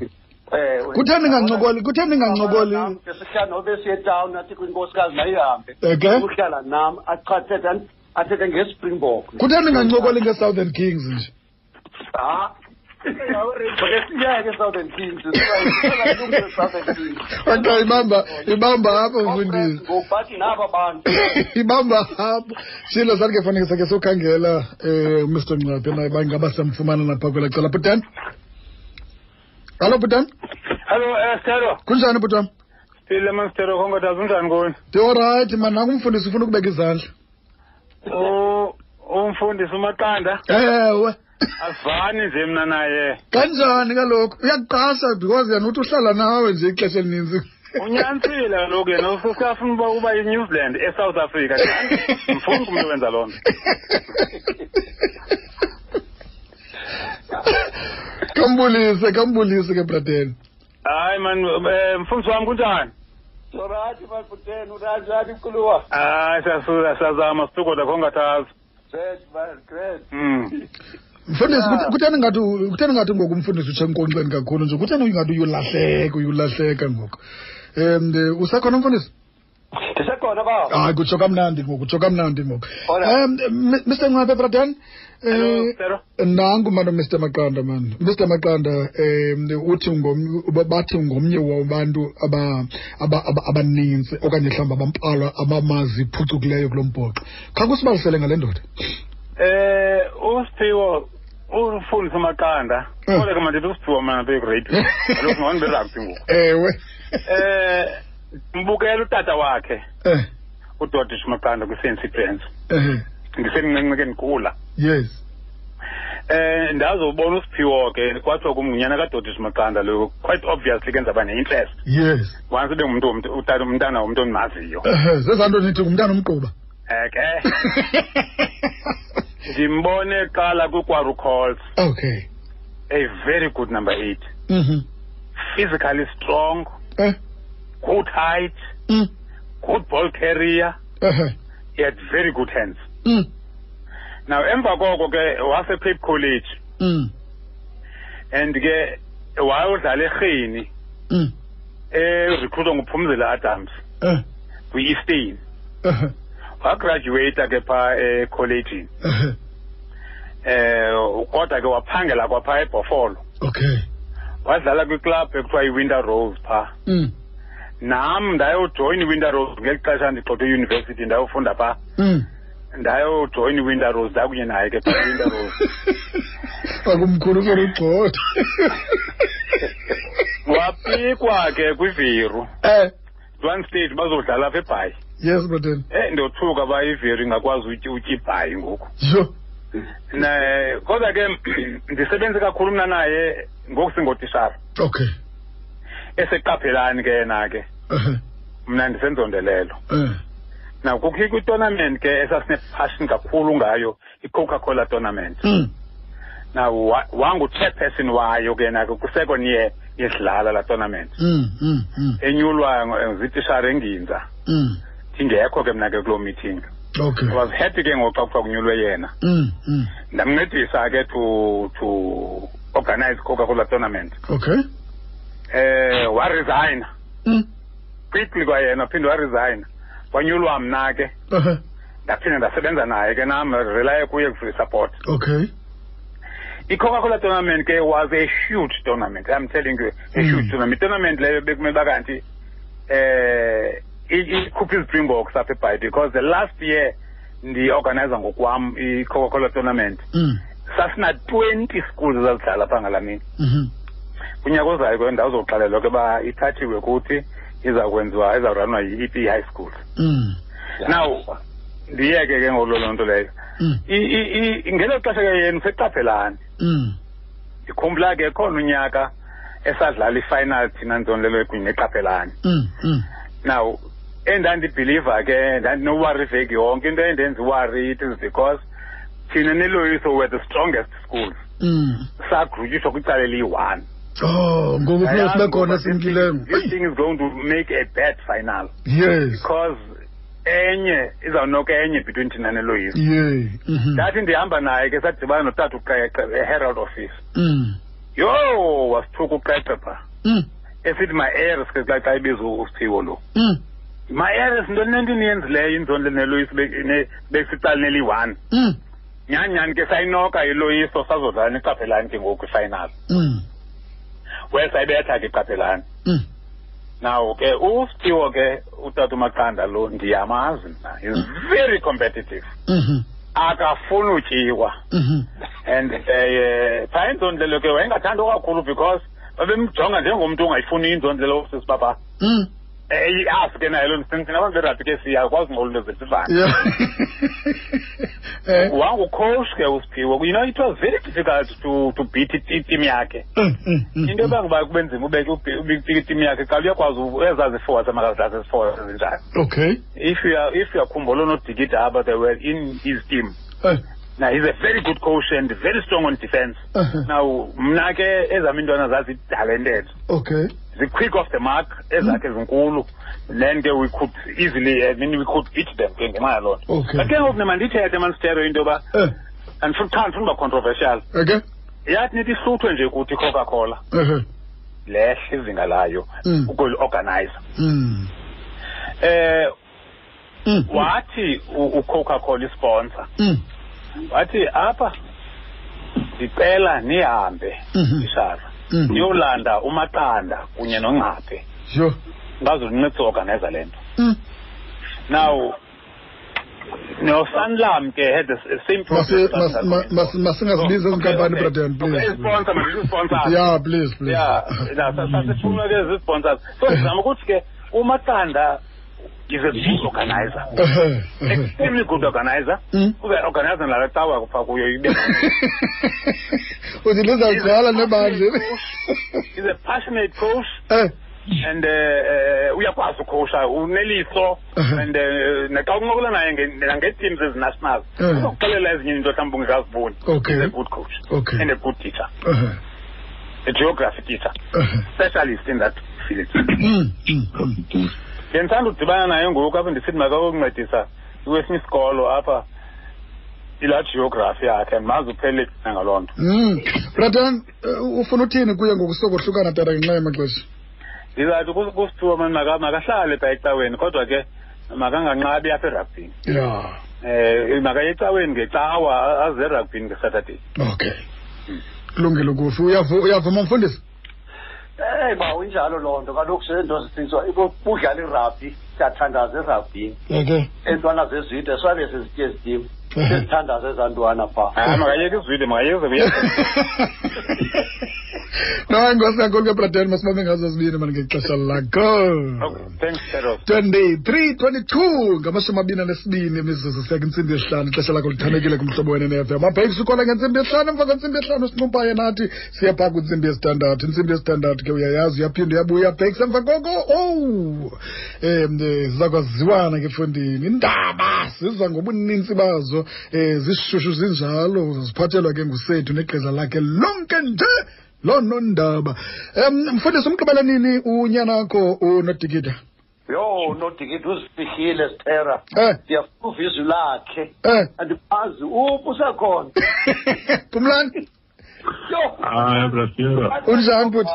[SPEAKER 2] Eh,
[SPEAKER 1] kuthe ningancokoli kuthe ningancokoli
[SPEAKER 2] Sesihlala nobe siye town athi kwinkosikazi mayihambe.
[SPEAKER 1] Okay.
[SPEAKER 2] Uhlala nam achathethe athethe ngeSpringbok.
[SPEAKER 1] kuthe ningancokoli nge-southern kings nje
[SPEAKER 2] Ha. Ngiyeke Southern Kings. Ngiyeke Southern Kings.
[SPEAKER 1] okay ibamba ibamba apho mfundisi
[SPEAKER 2] Ngokubathi naba bantu.
[SPEAKER 1] ibamba apho shilo sathi ke faneke sakhe sokhangela um umr ncaphe naye uba ingaba siyamfumana napha kwela cala bhutan hallo bhutan
[SPEAKER 5] Hello, Estero.
[SPEAKER 1] kunjani bhutam
[SPEAKER 5] Phile Mastero Khongoda unjani kuni?
[SPEAKER 1] ndiorayithi mani nanku umfundisi ufuna ukubeka izandla
[SPEAKER 5] Oh, umfundisi uMaqanda
[SPEAKER 1] ewe
[SPEAKER 5] asivani nje mina naye.
[SPEAKER 1] kanjani kaloku uyakuqasha because yena uthi uhlala nawe nje ixesha elininzi
[SPEAKER 5] Unyanisile kaloku yena ususafuna uba uba yiNew Zealand eSouth Africa. Mfuna umuntu wenza loo nto.
[SPEAKER 1] kambulise kambulise ke brateni
[SPEAKER 5] Hayi man, eh, mfundisi wami kunjani?
[SPEAKER 2] Sorathi balfuteni urazani kuluwa.
[SPEAKER 5] Hayi siyasuka siyazama sithukoda khongathazi.
[SPEAKER 2] Great, man, great.
[SPEAKER 5] Mm.
[SPEAKER 1] mfundisi
[SPEAKER 2] Yeah.
[SPEAKER 1] kutheni ngathi u- kutheni ngathi ngoku umfundisi utshe enkonkxeni kakhulu nje kutheni ingathi uyulahleka uyulahleka ngoku um usekhona umfundisi
[SPEAKER 2] Ndisekhona baba.
[SPEAKER 1] hayi kutsho kamnandi ngoku kutsho kamnandi ngoku
[SPEAKER 2] Alright.
[SPEAKER 1] um mr ncwape bratan eh, Mm.
[SPEAKER 5] Hello, Estero.
[SPEAKER 1] nangu mano Mr Maqanda man Mr Maqanda eh uthi ngom uba- bathi ngomnye wabantu aba aba- aba- abaninzi okanye mhlawumbi abambalwa abamazi iphucukileyo kulo mbhoxo kha kusibalisele ngale ndoda
[SPEAKER 5] Eh, usiphiwo umfundisi uMaqanda.
[SPEAKER 1] Mm.
[SPEAKER 5] Kodwa ke mandithi usiphiwo mina begrade. Kaloku ngone berugby ngoku.
[SPEAKER 1] ewe
[SPEAKER 5] Eh, mbukela utata wakhe.
[SPEAKER 1] eh
[SPEAKER 5] uDodish Maqanda kwi-CNC Brands.
[SPEAKER 1] eh
[SPEAKER 5] Ndisemncinci ke ndikhula.
[SPEAKER 1] yes
[SPEAKER 5] Eh ndazobona usiphiwo ke kwathiwa kum ngunyana kaDodish Maqanda lo quite obviously kenza ba ne-interest.
[SPEAKER 1] yes
[SPEAKER 5] Once ube ngumuntu womntu- utata umntana womntu ondimaziyo.
[SPEAKER 1] eh zezanto nithi ngumntana omquba
[SPEAKER 5] Eh ke ndimbone qala kwiKwaru Calls
[SPEAKER 1] okay
[SPEAKER 5] a very good number 8.
[SPEAKER 1] mhm
[SPEAKER 5] Physically strong,
[SPEAKER 1] eh
[SPEAKER 5] good height,
[SPEAKER 1] mm
[SPEAKER 5] good ball carrier,
[SPEAKER 1] eh
[SPEAKER 5] he had very good hands.
[SPEAKER 1] mm
[SPEAKER 5] Now emva koko ke wase Cape College
[SPEAKER 1] mm
[SPEAKER 5] and ke wayodlala eRhini.
[SPEAKER 1] mm
[SPEAKER 5] erecruitwa nguphumzile adams
[SPEAKER 1] eh
[SPEAKER 5] kwi-easton
[SPEAKER 1] eh
[SPEAKER 5] wagraduata ke phaa ekholejini
[SPEAKER 1] eh
[SPEAKER 5] um kodwa ke waphangela kwaphaa ebhofolo
[SPEAKER 1] okay
[SPEAKER 5] wadlala kwiklabhu ekuthiwa iwinter rose phaa
[SPEAKER 1] mm
[SPEAKER 5] nam ndayojoyina iwinter rose ngeli xesha ndigxothe eyunivesithi ndayofunda phaa
[SPEAKER 1] mm
[SPEAKER 5] ndayojoyina iwinter rose ndakunye naye ke phaa iwinter rose
[SPEAKER 1] akumkhulu for ugxotha
[SPEAKER 5] wapikwa ke kwiveru
[SPEAKER 1] eh
[SPEAKER 5] one stage bazodlala apha ebhayi
[SPEAKER 1] yes brateni
[SPEAKER 5] eh ndothuka ba iveri ingakwazi utyi utyi ibhayi ngoku
[SPEAKER 1] yho
[SPEAKER 5] Ne- kodwa ke ndisebenze kakhulu mna naye ngoku singotishara
[SPEAKER 1] okay
[SPEAKER 5] eseqaphelani ke yena ke
[SPEAKER 1] ehe
[SPEAKER 5] mna ndisenzondelelo
[SPEAKER 1] eh
[SPEAKER 5] na kukho kwitournament ke esasinepassion kakhulu ngayo i-coca cola tournament
[SPEAKER 1] Mm.
[SPEAKER 5] na wa- wangu-chairperson wayo ke na kwisecond year yedlala la tournament
[SPEAKER 1] Mm, mm, mm,
[SPEAKER 5] enyulwa ng- zitishara enginza
[SPEAKER 1] mm.
[SPEAKER 5] ndingekho ke mna ke kuloo meeting
[SPEAKER 1] okay
[SPEAKER 5] I was happy ke ngoku xa kuthiwa kunyulwe yena
[SPEAKER 1] Mm, mm.
[SPEAKER 5] ndamncedisa ke to to organize coca cola tournament
[SPEAKER 1] okay
[SPEAKER 5] eh waresigna
[SPEAKER 1] Mm,
[SPEAKER 5] quickly kwayena waphinde waresigna wanyulwa mna ke
[SPEAKER 1] ehe
[SPEAKER 5] ndaphinde ndasebenza naye ke nam relaye kuye kusuisupport
[SPEAKER 1] okay
[SPEAKER 5] i-coca cola tournament ke was a huge tournament i'm telling you a
[SPEAKER 1] Mm.
[SPEAKER 5] huge tournament tournament leyo bekumele uba kanti eh i- ikhupha izipringboks apha ebhayi because the last year ndiyiorganiza ngokwam i-coca cola tournament
[SPEAKER 1] Mm,
[SPEAKER 5] sasina 20 schools ezazidlala phaa ngalaa mini
[SPEAKER 1] mhm.
[SPEAKER 5] unyaka ozayo ke ndawuzoxelelwa ke uba ithathiwe kuthi iza kwenziwa izawuranwa yi-ep high school
[SPEAKER 1] Mm,
[SPEAKER 5] now ndiyeke ke ngolo loo nto leyo
[SPEAKER 1] mm,
[SPEAKER 5] I- i- i- ngelo xesha ke yena useqaphelani
[SPEAKER 1] mm.
[SPEAKER 5] ndikhumbula ke khona unyaka esadlala ifinal thina ntsonololo kunye neqaphelani
[SPEAKER 1] Mm, mm.
[SPEAKER 5] now endandibhiliva ke ndandinowari iveki yonke into endenza iwari it is because thina neloyiso were the strongest schools
[SPEAKER 1] Mm.
[SPEAKER 5] sagrutyiswa kwicala eliyi-one
[SPEAKER 1] oh ngoku funeka sibe khona simkileyo
[SPEAKER 5] this thing is going to make a bad final
[SPEAKER 1] yes
[SPEAKER 5] because enye izawunoka enye between thina neloyiso
[SPEAKER 1] ye mhm.
[SPEAKER 5] ndathi ndihamba naye ke sadibana notata uqeqe e-herald office
[SPEAKER 1] Mm,
[SPEAKER 5] yho wasithuka uqeqe pha
[SPEAKER 1] mm,
[SPEAKER 5] esithi ma-eres ke xa xa ibiza usiphiwo lo
[SPEAKER 1] mm,
[SPEAKER 5] ma-eres into nento eniyenzileyo inzondo neloyiso besicaleni eliyi-one
[SPEAKER 1] mm,
[SPEAKER 5] nyhani nyhani ke sayinoka iloyiso sazodlala neqaphelani ke ngoku ifinal
[SPEAKER 1] mm,
[SPEAKER 5] wesayibetha ke iqaphelani
[SPEAKER 1] mm.
[SPEAKER 5] Now ke uSphiwo ke utata uMaqanda lo ndiyamazi mna is very competitive
[SPEAKER 1] Mhm,
[SPEAKER 5] akafuni utyiwa
[SPEAKER 1] mhm.
[SPEAKER 5] and eh phaa inzondlelo ke wayengathanda kakhulu because babemjonga njengomuntu ongayifuni inzondlelo usisi papa
[SPEAKER 1] Mm,
[SPEAKER 5] eyiasi Eh, ke naye loo ntsintsin abantu berabi ke siyakwazi ngolunto zesivane
[SPEAKER 1] yeah.
[SPEAKER 5] É.
[SPEAKER 1] Eh,
[SPEAKER 5] wangucoach ke uSphiwo you know it was very difficult to to beat i- i-team yakhe
[SPEAKER 1] mm, mm, mm,
[SPEAKER 5] into ebangoba kube nzima ubeke ubike i-team yakhe xa uyakwazi ezazi ifowa zamakazihlasa ezifowa ezinjani
[SPEAKER 1] okay
[SPEAKER 5] if you are if you are Kumbolo not Digitaba, they were in his team.
[SPEAKER 1] Eh,
[SPEAKER 5] Now he's a very good coach and very strong on defense.
[SPEAKER 1] eh,
[SPEAKER 5] Now mna ke ezam iintwana zazi-talented
[SPEAKER 1] okay
[SPEAKER 5] zi-quick off the mark ezakhe zinkulu then ke we could easily i mean we could beat them ke ngenxa yaloo nto
[SPEAKER 1] Okay.
[SPEAKER 5] but ke ngoku ne mandithethe mandisitero into yoba
[SPEAKER 1] Eh,
[SPEAKER 5] andifuthikhandi funa uba controversial
[SPEAKER 1] okay
[SPEAKER 5] yathi nithi ihluthwe nje kuthi icoca cola
[SPEAKER 1] Eh,
[SPEAKER 5] lehle izinga layo
[SPEAKER 1] Mm.
[SPEAKER 5] ukuliorganiza
[SPEAKER 1] mm,
[SPEAKER 5] um
[SPEAKER 1] mm,
[SPEAKER 5] wathi u- ucoca cola isponsor
[SPEAKER 1] mm,
[SPEAKER 5] wathi apha ndicela nihambe
[SPEAKER 1] Mhm.
[SPEAKER 5] tishara
[SPEAKER 1] mm.
[SPEAKER 5] niyolanda umaqanda kunye nongqaphe
[SPEAKER 1] Sure.
[SPEAKER 5] bazonincedisa organizer le nto
[SPEAKER 1] Mm.
[SPEAKER 5] now nosanlam ke had the s- same
[SPEAKER 1] Masi- mas- ma- mas- masingazibizi ezi nkampani brethren please
[SPEAKER 5] isponsor mandizisponsor
[SPEAKER 1] yeah please Uhum. please
[SPEAKER 5] ya sasifunwa ke zisponsors so ndizama ukuthi ke umaqanda is a good organizer
[SPEAKER 1] Ehe, ehe.
[SPEAKER 5] extremely good organizer
[SPEAKER 1] Mm.
[SPEAKER 5] ube organizer nala cawa kupha kuyo ibe
[SPEAKER 1] uthi lizawugcwala
[SPEAKER 5] Tá
[SPEAKER 1] nebandle
[SPEAKER 5] is a passionate coach
[SPEAKER 1] Eh,
[SPEAKER 5] and uh, uh, uyakwazi ukhosha uneliso
[SPEAKER 1] Uh-huh.
[SPEAKER 5] and uh, naxa uncokola naye nge- nangeteams ezinationals
[SPEAKER 1] Uh-huh.
[SPEAKER 5] uzokuxelela ezinye into mhlawumbi ungekaziboni
[SPEAKER 1] Okay.
[SPEAKER 5] He's a good coach
[SPEAKER 1] Okay.
[SPEAKER 5] and a good teacher
[SPEAKER 1] ehe,
[SPEAKER 5] a geography teacher
[SPEAKER 1] ehe.
[SPEAKER 5] specialist in that field
[SPEAKER 1] Mm, mm, mm.
[SPEAKER 5] ke ndithanda udibana naye ngoku apho ndisithi makakokuncedisa iwesinye isikolo apha ilaa geography yakhe andimazi uphelele nangaloo nto
[SPEAKER 1] Mm. bratan ufuna uthini kuye ngokusokohlukana tata ngenxa yamaxesha
[SPEAKER 5] ndizathi kus- kusithiwa mani maka- makahlale phaa ecaweni kodwa ke makanganqabi apha eragbini
[SPEAKER 1] ya
[SPEAKER 5] eh makaye ecaweni ngecawa aze eragbini ngesaturday
[SPEAKER 1] okay kulungile kufi Uyavu- uyavuma mfundisi
[SPEAKER 2] Eh ba unjalo loo nto kaloku sezinto zithiswa budlala irabhi siyathandaza erabhini
[SPEAKER 1] okay
[SPEAKER 2] eentwana zezide swabe sezitye zitim
[SPEAKER 5] Ah,
[SPEAKER 6] Ah,
[SPEAKER 2] sezithandaza ezaa ntwana phaa
[SPEAKER 5] hayi makayeke izwile makayeke uye
[SPEAKER 1] no enkosi kakhulu ke bratel masibambe ngazo zibini mani ngexesha lakho
[SPEAKER 5] Okay, Oh, thanks, Shadow.
[SPEAKER 1] 23 22 ngamashumi abini anesibini imizuzu siyaka intsimbi yesihlanu ixesha lakho lithanekile kumhlobo wena ne-fm abheki sikhola ngentsimbi yesihlanu emva kwentsimbi yesihlanu sincumpaye nathi siya phaa kwintsimbi yesithandathu intsimbi yesithandathu ke uyayazi uyaphinde uyabuya abheki semva koko owu um ziza kwaziwana ke efundini iindaba ziza ngobunintsi bazo um zishushu zinjalo ziphathelwa ke ngusethu negqiza lakhe lonke nje loo nondaba um mfundisi umgqibela nini unyanakho unodikida
[SPEAKER 2] yho nodikidi uzifihlile sithera
[SPEAKER 1] Eh.
[SPEAKER 2] ndiyafuva izwi lakhe
[SPEAKER 1] Eh.
[SPEAKER 2] andimazi uphi usekhona
[SPEAKER 1] kumlani
[SPEAKER 6] Hayi Brasileira.
[SPEAKER 1] unjani bhuti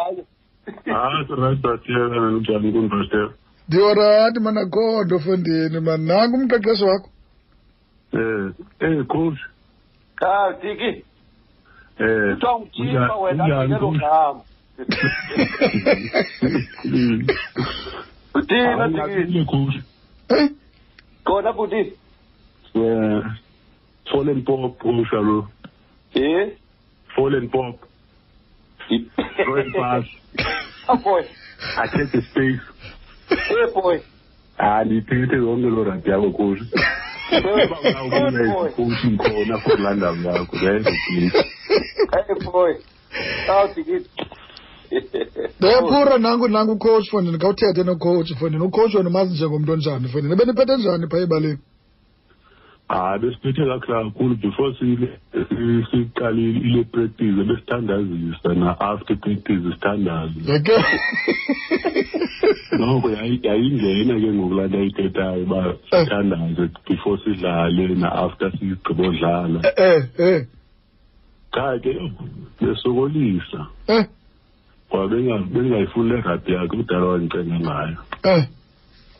[SPEAKER 6] Hayi Sir Brasileira njani kun Brasileira?
[SPEAKER 1] ndiyorati mani akho nto fondini mani nanku umqeqeshi wakho
[SPEAKER 6] Eh, eh coach.
[SPEAKER 2] hayi diki
[SPEAKER 6] Eh.
[SPEAKER 2] kuthiwa nguthipa wena
[SPEAKER 6] unjani,
[SPEAKER 2] andikelo
[SPEAKER 6] coach?
[SPEAKER 2] ngam
[SPEAKER 6] Mm.
[SPEAKER 2] uthina
[SPEAKER 6] Hayi,
[SPEAKER 2] dikidi
[SPEAKER 6] unjani, coach.
[SPEAKER 1] Eh,
[SPEAKER 2] khona buti
[SPEAKER 6] Eh. Fallen pop coach alo.
[SPEAKER 2] Eh?
[SPEAKER 6] Fallen pop. Going pass.
[SPEAKER 2] Aboy,
[SPEAKER 6] I take the space.
[SPEAKER 2] Oh, hey boy,
[SPEAKER 6] Ah, ndiphethe zonke loo radi yakho coach. Uba
[SPEAKER 2] hey
[SPEAKER 6] ulawula
[SPEAKER 2] boy,
[SPEAKER 6] coach khona kulandam yakho. Yayenza please.
[SPEAKER 2] hey boy. Awudikidi.
[SPEAKER 1] ndiyaphura nanku nanku ucoach fondini khawuthethe nocoach fondini ucoach wena umazi njengomntu onjani fondini ebeniphethe njani phaa ebaleni
[SPEAKER 6] hayi besiphethe kakuhle kakhulu before sile- si- siqale ile practice besithandazisa na-after practice sithandaze
[SPEAKER 1] yeke
[SPEAKER 6] noko yayi- yayingena ke ngoku laa nto ayithethayo uba sithandaze before sidlale na-after sigqibodlala
[SPEAKER 1] eh eh
[SPEAKER 6] qha ke yho, besokolisa
[SPEAKER 1] eh
[SPEAKER 6] ngoba benga- bengayifuni le rabhi yakhe udala wandicenga ngayo
[SPEAKER 1] eh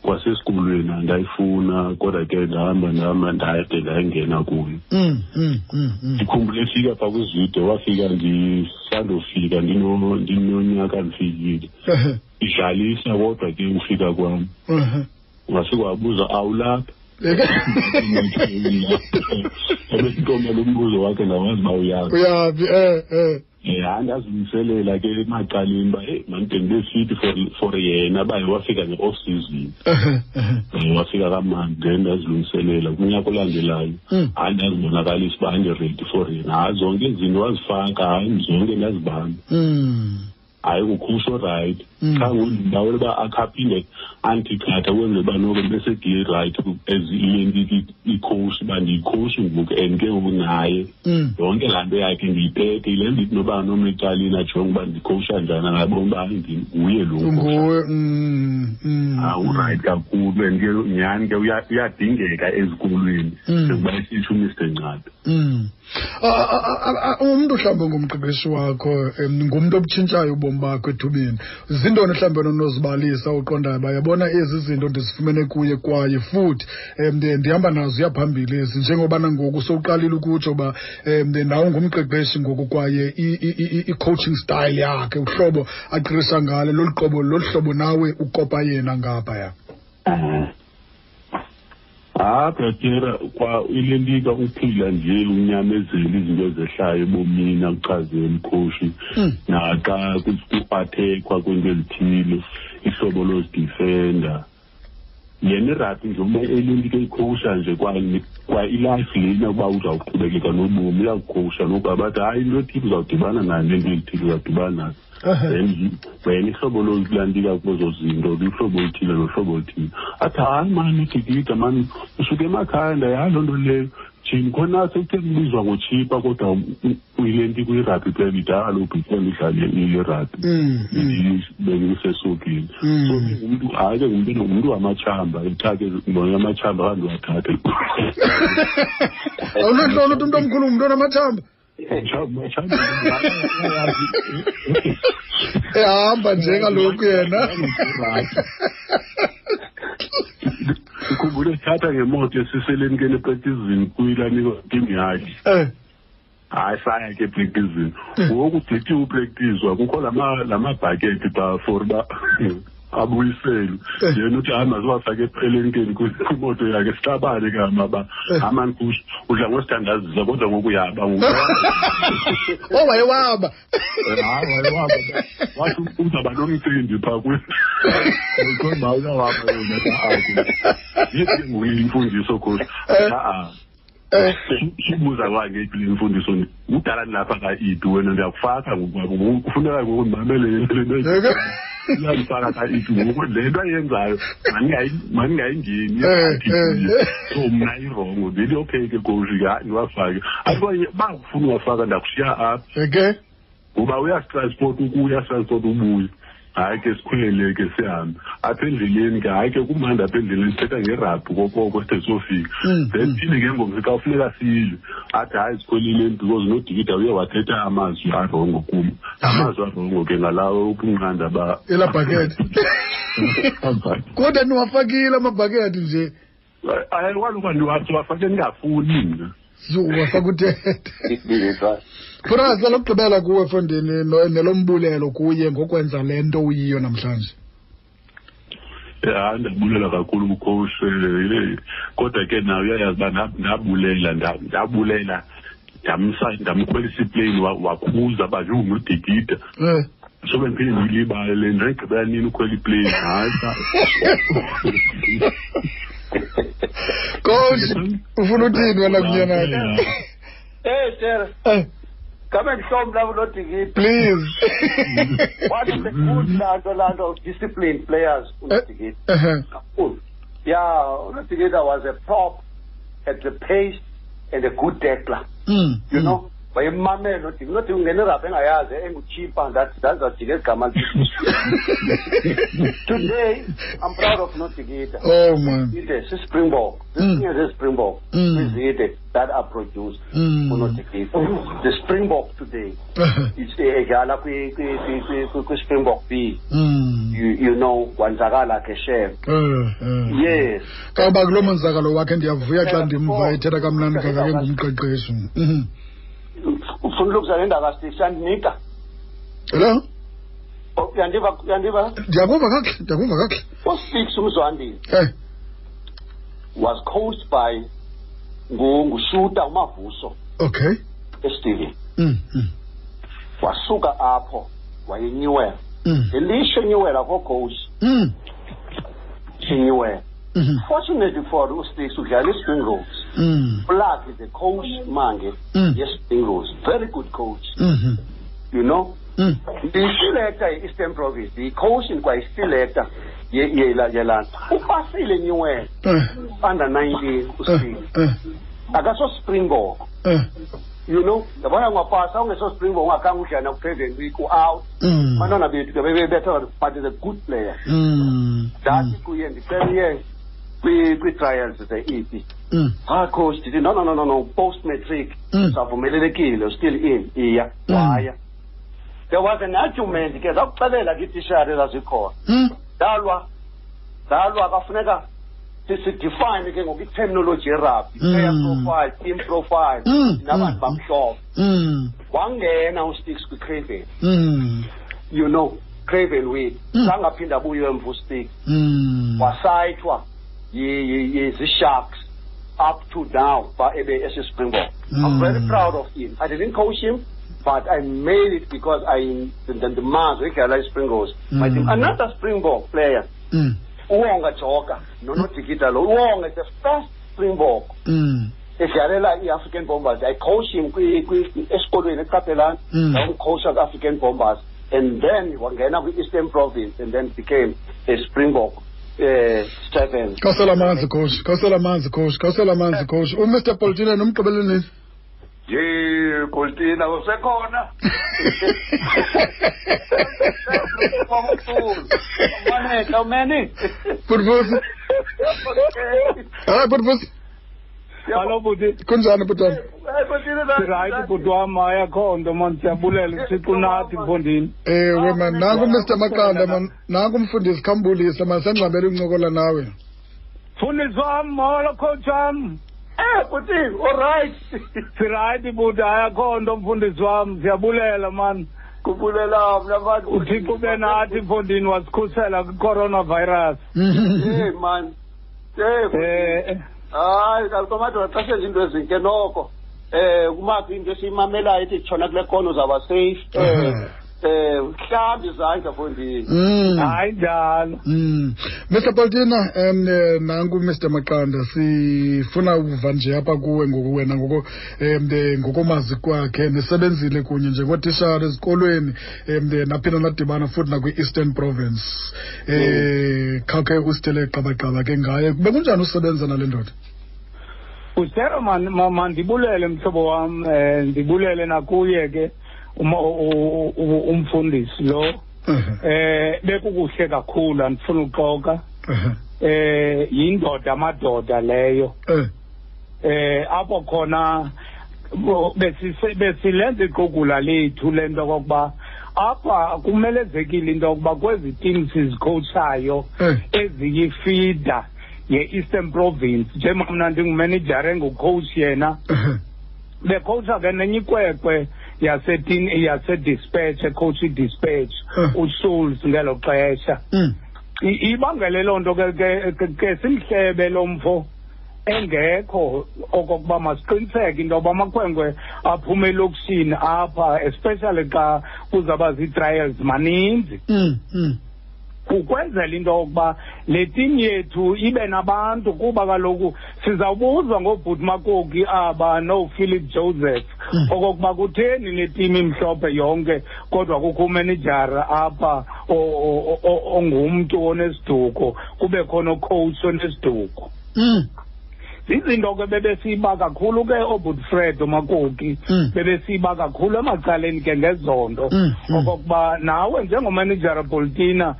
[SPEAKER 6] kwasesikolweni andayifuna kodwa ke ndahamba ndahamba ndayade ndayingena kuyo
[SPEAKER 1] mm mm mm mm
[SPEAKER 6] ndikhumbule efika phaa kwizide wafika ndisandofika ndino- ndinonyaka ndifikile
[SPEAKER 1] eh
[SPEAKER 6] idlalisa kodwa ke ufika kwam
[SPEAKER 1] eh
[SPEAKER 6] ngasekwabuza awulapha
[SPEAKER 1] yeke Mm,
[SPEAKER 6] ebesintomela umbuzo wakhe ndawazi uba uyapha
[SPEAKER 1] uyaphi eh eh
[SPEAKER 6] Eh, hayi ndazilungiselela ke emacaleni uba eyi mandide ndibefiti for- for yena uba wafika nge-off season
[SPEAKER 1] eh eh
[SPEAKER 6] Eh, wafika kamandi then ndazilungiselela kunyaka olandelayo
[SPEAKER 1] Mm.
[SPEAKER 6] hayi ndazibonakalisa uba andiredi for yena hayi zonke izinto wazifaka hayi zonke ndazibamba
[SPEAKER 1] mm
[SPEAKER 6] hayi kukhusho right
[SPEAKER 1] Mm.
[SPEAKER 6] khangundibawela uba akhaphinde andichatha kwenzela uba noko besediye right as ilentiki ikhoshi uba ndiyikhoshi ngoku and ke ngoku naye
[SPEAKER 1] mm
[SPEAKER 6] yonke laa nto yakhe ndiyithethe yile ndithi noba nomecalini ajonge uba ndikhowusha njani angabona uba hayi ndi- nguye lo
[SPEAKER 1] nguwe mm mm
[SPEAKER 6] awurayithi kakhulu and ke nyhani ke uya- uyadingeka ezikolweni
[SPEAKER 1] Mm.
[SPEAKER 6] sekuba isitsho umiste ncada
[SPEAKER 1] Mm. Ah, ah, ah, ah, ah, umntu mhlawumbi ngumqeqeshi wakho em, ngumntu obutshintshayo ubomi bakho ethubeni zintoni mhlawumbi ononozibalisa uqondayo uba yabona ezi zinto ndizifumene kuye kwaye futhi um ndihamba nazo uyaphambili ezi njengobana ngoku sowuqalile ukutsho uba um nawe ngumqeqeshi ngoku kwaye i- i- i- i- i-coaching style yakhe uhlobo aqeqesha ngalo lolu qobo lolu hlobo nawe ukopa yena ngaphaya
[SPEAKER 6] hayi bratera kwa ile lika uphila nje unyamezela izinto ezehlayo ebomini akuchazele umkhoshi
[SPEAKER 1] Mm.
[SPEAKER 6] naxa kuathekwa kwinto ezithile ihlobo lozidifenda yena irabhi nje uba elinto eyikhowusha nje kwa kwa ilife lena uba uzawuqhubekeka nobomi uyawukhowusha nokuba bathi hayi into ethile uzawudibana nayo nento ezithile uzawudibana nazo
[SPEAKER 1] Ehe.
[SPEAKER 6] then wena ihlobo lokulandika kwezo zinto luhlobo oluthile nohlobo oluthile athi hayi mani udikida mani usuke emakhaya ndayazi loo nto leyo jini khona sekuthe kubizwa ngotshipa kodwa ile nto kwirabhi plebida kaloku before ndidlale irabhi
[SPEAKER 1] Mm, mm,
[SPEAKER 6] bengisesukile
[SPEAKER 1] Mm.
[SPEAKER 6] so ngumntu hayi ke ngumntu ngumntu wamatshamba ethake bona amatshamba kanti wathathe
[SPEAKER 1] awunantlolo uthi umntu omkhulu ngumntu onamathamba ehamba Eh, nje kaloku yena
[SPEAKER 6] ukhumbule thatha ngemoto esiseleni ke nepracticini kuyilanikwa tim yakhe
[SPEAKER 1] Eh,
[SPEAKER 6] hayi saya ke epracticini ngoku dithi upractice kukho lama- la mabhakethi phaa for uba abuyisele
[SPEAKER 1] Eh.
[SPEAKER 6] yena uthi hayi maziwafake epelenkeni kwimoto yakhe sihlabane kama ba
[SPEAKER 1] Eh.
[SPEAKER 6] amani kush udla ngosithandaziso kodwa ngokuyaba
[SPEAKER 1] Oh, owayewaba
[SPEAKER 6] wathi uzaba nomcimbi phaa kuqonda uyawaba yona yithi nguyimfundiso khosi
[SPEAKER 1] Eh.
[SPEAKER 6] a-a
[SPEAKER 1] Eh,
[SPEAKER 6] sibuza kwangephi le mfundiso ni kudala nilapha ka-idi wena ndiyakufaka ngokwabo ngoku kufuneka ngoku ndimamele le nto uyandifaka ka-idi ngoku le nto ayenzayo mandingayi- mandingayingeni
[SPEAKER 1] Eh, eh.
[SPEAKER 6] so mna irongo ndithi okay ke koshi ke hayi ndiwafake akwanye uba ufuna uwafaka ndakushiya apha
[SPEAKER 1] okay
[SPEAKER 6] ngoba uyasitransport ukuya asitransport ubuya hayi e ke sikhwele ke sihambe apha endleleni ke hayi e ke kumandi apha endleleni sithetha ngerabhi kokoko side sofika
[SPEAKER 1] Mm,
[SPEAKER 6] then
[SPEAKER 1] mm.
[SPEAKER 6] thini ke ngomsi xa kufuneka siyile athi hayi sikhwelileni because nodikida uye wathetha amazwi arongo kum amazwi arongo ke ngalawo ukunqanda ba
[SPEAKER 1] Ela bhakethi. kodwa niwafakile amabhakethi nje
[SPEAKER 6] hayi kwaluka ndiwathi wafake ndingafuni mna
[SPEAKER 1] zuwafaka utete
[SPEAKER 2] Right.
[SPEAKER 1] phurasa lokugqibela kuwe fondini no- nelombulelo kuye ngokwenza le nto uyiyo namhlanje
[SPEAKER 6] hayi ndabulela kakhulu kucoach eh, ile- kodwa ke nayo uyayazi uba ndab- ndabulela nda- ndabulela ndamsa- ndamkhwelisa iplane wakhuza uba yhu ngudikida
[SPEAKER 1] Eh,
[SPEAKER 6] so bendiphinde ndiyilibale le nto ndayigqibela nini ukhwela iplane hayi
[SPEAKER 1] coach ufuna uthini wena kunyenana
[SPEAKER 2] Hey, Sarah, come and show me now not to get.
[SPEAKER 1] please
[SPEAKER 2] What is the good land land of disciplined players? Unotigit.
[SPEAKER 1] Eh,
[SPEAKER 2] Kakhulu. Yeah, Unotigit was a prop at the pace and a good tackler.
[SPEAKER 1] mm,
[SPEAKER 2] You
[SPEAKER 1] mm.
[SPEAKER 2] know, wayemmamela unotigit. Unotigit ungenerapha engayazi eh, enguchipa ndazajika igama lithi. Today, I'm proud of Notigita.
[SPEAKER 1] oh man
[SPEAKER 2] Zide, siSpringbok.
[SPEAKER 1] Mm.
[SPEAKER 2] Zisinye zeSpringbok.
[SPEAKER 1] Mm.
[SPEAKER 2] Kwizide that are produced
[SPEAKER 1] Mm.
[SPEAKER 2] unotigita. The Springbok today.
[SPEAKER 1] Eh,
[SPEAKER 2] is- eh, edlala kwi- kwi- kwi- kwi- kwi- kwispringbok b
[SPEAKER 1] mm.
[SPEAKER 2] you, you know wanzakala ke shef
[SPEAKER 1] Eh, eh.
[SPEAKER 2] yes
[SPEAKER 1] kaba kulo monzakalo wakhe ndiyavuya xa
[SPEAKER 2] Yeah,
[SPEAKER 1] ndimva
[SPEAKER 2] oh.
[SPEAKER 1] ethetha kamnandi kaka ke
[SPEAKER 2] Yeah,
[SPEAKER 1] ngumqeqeshi Mhm.
[SPEAKER 2] ufuna ulukisa le ndaba six yandinika
[SPEAKER 1] hello
[SPEAKER 2] Oh, uyandiva uyandiva
[SPEAKER 1] ndiyakuva kakuhle ndiyakuva kakuhle
[SPEAKER 2] usix umzwandile
[SPEAKER 1] Eh,
[SPEAKER 2] was coached by ngu- ngushuta umavuso
[SPEAKER 1] okay
[SPEAKER 2] esidivini
[SPEAKER 1] Mm, mm,
[SPEAKER 2] wasuka apho wayenyiwela
[SPEAKER 1] mm,
[SPEAKER 2] ngelishwe enyiwela kocoach
[SPEAKER 1] mm,
[SPEAKER 2] enyiwela
[SPEAKER 1] mhm,
[SPEAKER 2] fortunately for usix udlala ispringrose
[SPEAKER 1] mm,
[SPEAKER 2] plug is the coach mange
[SPEAKER 1] Mm.
[SPEAKER 2] yespringrose very good coach
[SPEAKER 1] mhm,
[SPEAKER 2] you know
[SPEAKER 1] mm.
[SPEAKER 2] ndiyiselekta i-eastern province ndiyicoachin kwayiselekta ye- yela- yelaa upasile nyiwena
[SPEAKER 1] Eh,
[SPEAKER 2] under nineteen
[SPEAKER 1] eh,
[SPEAKER 2] usile
[SPEAKER 1] eh,
[SPEAKER 2] akasospringbok
[SPEAKER 1] eh,
[SPEAKER 2] you know yabona ungapasa ungesospringbok ungakhange udlana ku-seven week u-out
[SPEAKER 1] mm,
[SPEAKER 2] abantwana bethu ke bebebetha but is a good player
[SPEAKER 1] mm,
[SPEAKER 2] ndathi kuye ndicela uye kwi- kwii-trials ze-ep
[SPEAKER 1] mm,
[SPEAKER 2] ha coach ndithi no no no no no post matric
[SPEAKER 1] Mm.
[SPEAKER 2] savumelelekile still in iya
[SPEAKER 1] Mm.
[SPEAKER 2] waya there was an argument ke zakuxelela kwiitishari ezazikhona
[SPEAKER 1] mm,
[SPEAKER 2] dalwa dalwa kafuneka si- sidefine ke ngoku iterminology yerabhi
[SPEAKER 1] Mm.
[SPEAKER 2] player profile team profile
[SPEAKER 1] Mm.
[SPEAKER 2] nabantu
[SPEAKER 1] Mm.
[SPEAKER 2] bamhlophe
[SPEAKER 1] mm,
[SPEAKER 2] wangena ustix kwicraven
[SPEAKER 1] mm,
[SPEAKER 2] you know craven wit
[SPEAKER 1] Mm.
[SPEAKER 2] zangaphinda abuye emva ustix
[SPEAKER 1] mm.
[SPEAKER 2] wasayithwa yi- yi- yi- zii-sharks up to now ba ebe esespringbok i'm
[SPEAKER 1] Mm.
[SPEAKER 2] very proud of him i didn't coach him but i made it because i ndimazwe igala ispringos my team
[SPEAKER 1] Mm.
[SPEAKER 2] another springbok player
[SPEAKER 1] Mm,
[SPEAKER 2] uwonga joka nonodikita lo uwonga is the first springbok
[SPEAKER 1] mm,
[SPEAKER 2] edlalela i-african bombers i coach him kwi- kwi- esikolweni eqaphelana
[SPEAKER 1] Mm.
[SPEAKER 2] ndawumcoacha kwi-african bombers and then wangena kwi-eastern province and then became a springbok um seven
[SPEAKER 1] khawusela amanzi coach khawusela amanzi coach khawusela amanzi coach umr poltine nomgqibeleleni
[SPEAKER 5] ye koltina usekhona
[SPEAKER 2] how many
[SPEAKER 1] butbusi hayi butbusi
[SPEAKER 3] kaloku ndi-
[SPEAKER 1] kunjani butana
[SPEAKER 3] ndirayithi bhuti wam hayi akho nto man siyabulela uthixo nathi mfondini
[SPEAKER 1] ewe Eh, man nanku mr maqanda man nanku umfundisi khambulisa man sendingxabele ukuncokola nawe
[SPEAKER 3] mfundisi wam molo coach wam
[SPEAKER 2] Eh, Putin, all right.
[SPEAKER 3] sirayithi bhuti hayi akho nto mfundisi wam siyabulela mani
[SPEAKER 2] khubulela mna abantu
[SPEAKER 3] uthixo ube nathi mfondini wasikhusela kwi-coronavirus
[SPEAKER 1] Mm.
[SPEAKER 2] hey man hey
[SPEAKER 3] Eh,
[SPEAKER 2] hayi kaloku amadoda xa senza into ezintle noko um kumaphi into esiyimamelayo ethi tshona kule kono uzawuba safe um um mhlawumbi izandla fondini
[SPEAKER 1] Mm.
[SPEAKER 3] hayi njalo
[SPEAKER 1] Mm. Mr Baltina um eh, nanku Mr Maqanda sifuna uva nje apha kuwe ngoku wena ngoko um eh, ngokomazi kwakhe nisebenzile kunye njengotishara ezikolweni um eh, naphinda nadibana futhi nakwi-eastern province um khawukhe usithele qabaqaba ke ngaye bekunjani usebenza nale ndoda
[SPEAKER 3] usero man- ma- mandibulele mhlobo wam um ndibulele nakuye ke uma- u- u- u- umfundisi lo eh bekukuhle kakhulu andifuna uxoka eh yindoda amadoda leyo
[SPEAKER 1] Eh,
[SPEAKER 3] eh apho khona bo- besise- besilenza iqugula lethu lento kokuba apha kumelezekile into yokuba kwezi teams zikhotshayo
[SPEAKER 1] eh,
[SPEAKER 3] eziyifida ye-eastern province njengoba mna ndingumanejara engucoach yena
[SPEAKER 1] eh,
[SPEAKER 3] becoacha ke nenye ikwekwe yasetini yasedispatch ecoach idispatch
[SPEAKER 1] Huh.
[SPEAKER 3] usuls ngelo xesha
[SPEAKER 1] mm,
[SPEAKER 3] I- ibangele loo nto ke- ke ke- ke simhlebe lo mfo engekho okokuba masiqiniseke into yoba amakhwenkwe aphuma elokishini apha especially xa kuzawuba zii-trials maninzi
[SPEAKER 1] mm, mm,
[SPEAKER 3] ukwenzela into yokuba le tim yethu ibe nabantu kuba kaloku sizawubuzwa ngoobhuti makoki aba noophilip joseph
[SPEAKER 1] Mm.
[SPEAKER 3] okokuba kutheni le tim imhlophe yonke kodwa kukho umanejara apha o- o- o- ongumntu onesiduko kube khona ucoach onesiduko
[SPEAKER 1] mm,
[SPEAKER 3] zizinto ke bebesiba kakhulu ke obhuti fred umakoki
[SPEAKER 1] Mm.
[SPEAKER 3] bebesiba kakhulu emacaleni ke ngezonto
[SPEAKER 1] Mm, mm.
[SPEAKER 3] okokuba nawe njengomanejara politina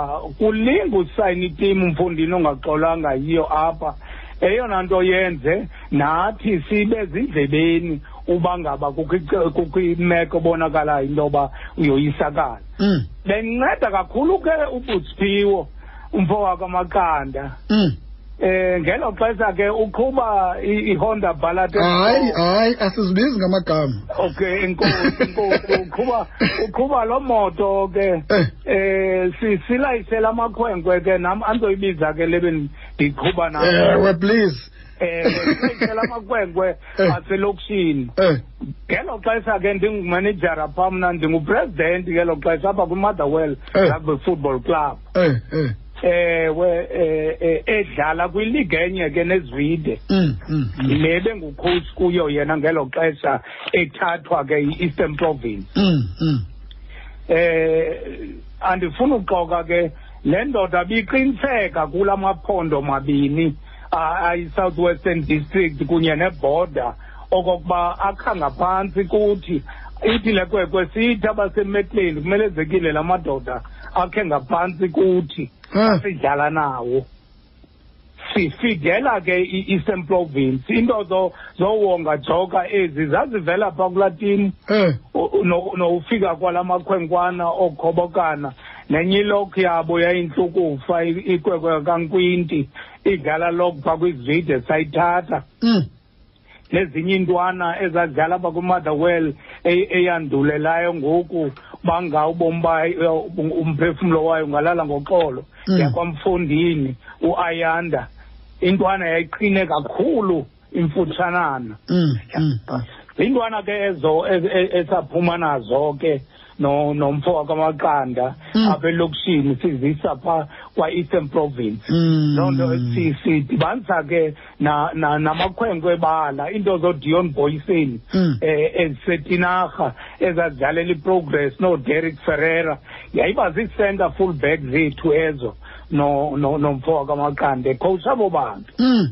[SPEAKER 3] ungakulinga usayina itimu mfundini ongaxolanga yiyo apha eyona nto yenze nathi sibe zindlebeni uba ngaba kukho ice- kukho imeko ebonakalayo into yoba uyoyisakala
[SPEAKER 1] mm,
[SPEAKER 3] bendinceda kakhulu ke ubutsphiwo umfo wakwamaqanda
[SPEAKER 1] mm.
[SPEAKER 3] eh ngelo xesha ke uqhuba i- iHonda Ballad
[SPEAKER 1] hayi hayi asizibizi ngamagama
[SPEAKER 3] okay inkosi inkosi uqhuba uqhuba lo moto ke
[SPEAKER 1] Eh,
[SPEAKER 3] eh si- silayisela amakhwenkwe ke nam andoyibiza ke lebe ndiqhuba
[SPEAKER 1] ewe
[SPEAKER 3] nayo
[SPEAKER 1] please
[SPEAKER 3] eh silayisela amakhwenkwe
[SPEAKER 1] Eh.
[SPEAKER 3] aselokishini
[SPEAKER 1] eh
[SPEAKER 3] ngelo xesha ke ndingumanejara phaa mna ndingupresident ngelo xesha apha kwi-motherwell
[SPEAKER 1] Eh.
[SPEAKER 3] rugby football club
[SPEAKER 1] eh eh
[SPEAKER 3] ewe eh, eh, edlala kwiligi enye ke nezwide
[SPEAKER 1] Mm, mm, mm.
[SPEAKER 3] le bengucoach kuyo yena ngelo xesha ethathwa ke i-eastern province
[SPEAKER 1] Mm, mm.
[SPEAKER 3] eh andifuna uxoka ke le ndoda biqiniseka kula maphondo mabini ah, ayi-southwestern district kunye neborder okokuba akhanga phantsi kuthi ithi le kwekwe sithi abasemetleni kumelezekile la madoda akhe ngaphantsi kuthi
[SPEAKER 1] Ah,
[SPEAKER 3] sidlala nawo sifidela ke i-eastern province into zo- zowonga joka ezi zazivela pha kulatini
[SPEAKER 1] eh,
[SPEAKER 3] nowufika kwala makhwenkwana okhobokana nenye ilokhu yabo yayintlukufa i- ikwekwe kankwinti idlala lokhu pha kwizide sayithatha
[SPEAKER 1] mm.
[SPEAKER 3] nezinye iintwana ezadlala apha kwimotherwell e- eyandulelayo ngoku bangawubomi bayo umphefumlo wayo ngalala ngoxolo
[SPEAKER 1] Mm.
[SPEAKER 3] yakwamfundini uayanda intwana yayiqine kakhulu imfutshanana
[SPEAKER 1] Mm, mm, mm.
[SPEAKER 3] iintwana ke ezo ez- e- esaphuma nazo ke no- nomfo wakwamaqanda
[SPEAKER 1] Mm.
[SPEAKER 3] apha elokishini sizisa phaa kwa-eastern province
[SPEAKER 1] Mm.
[SPEAKER 3] loo nto si- sidibanisa ke na- na- namakhwenkwe bala iinto zodion boysen
[SPEAKER 1] Mm.
[SPEAKER 3] um ezisetinarha ezadlalela iprogress noderek ferrera yayiba zii-center full back zethu ezo no- no- nomfo wakwamaqanda ecoach abo bantu
[SPEAKER 1] Mm.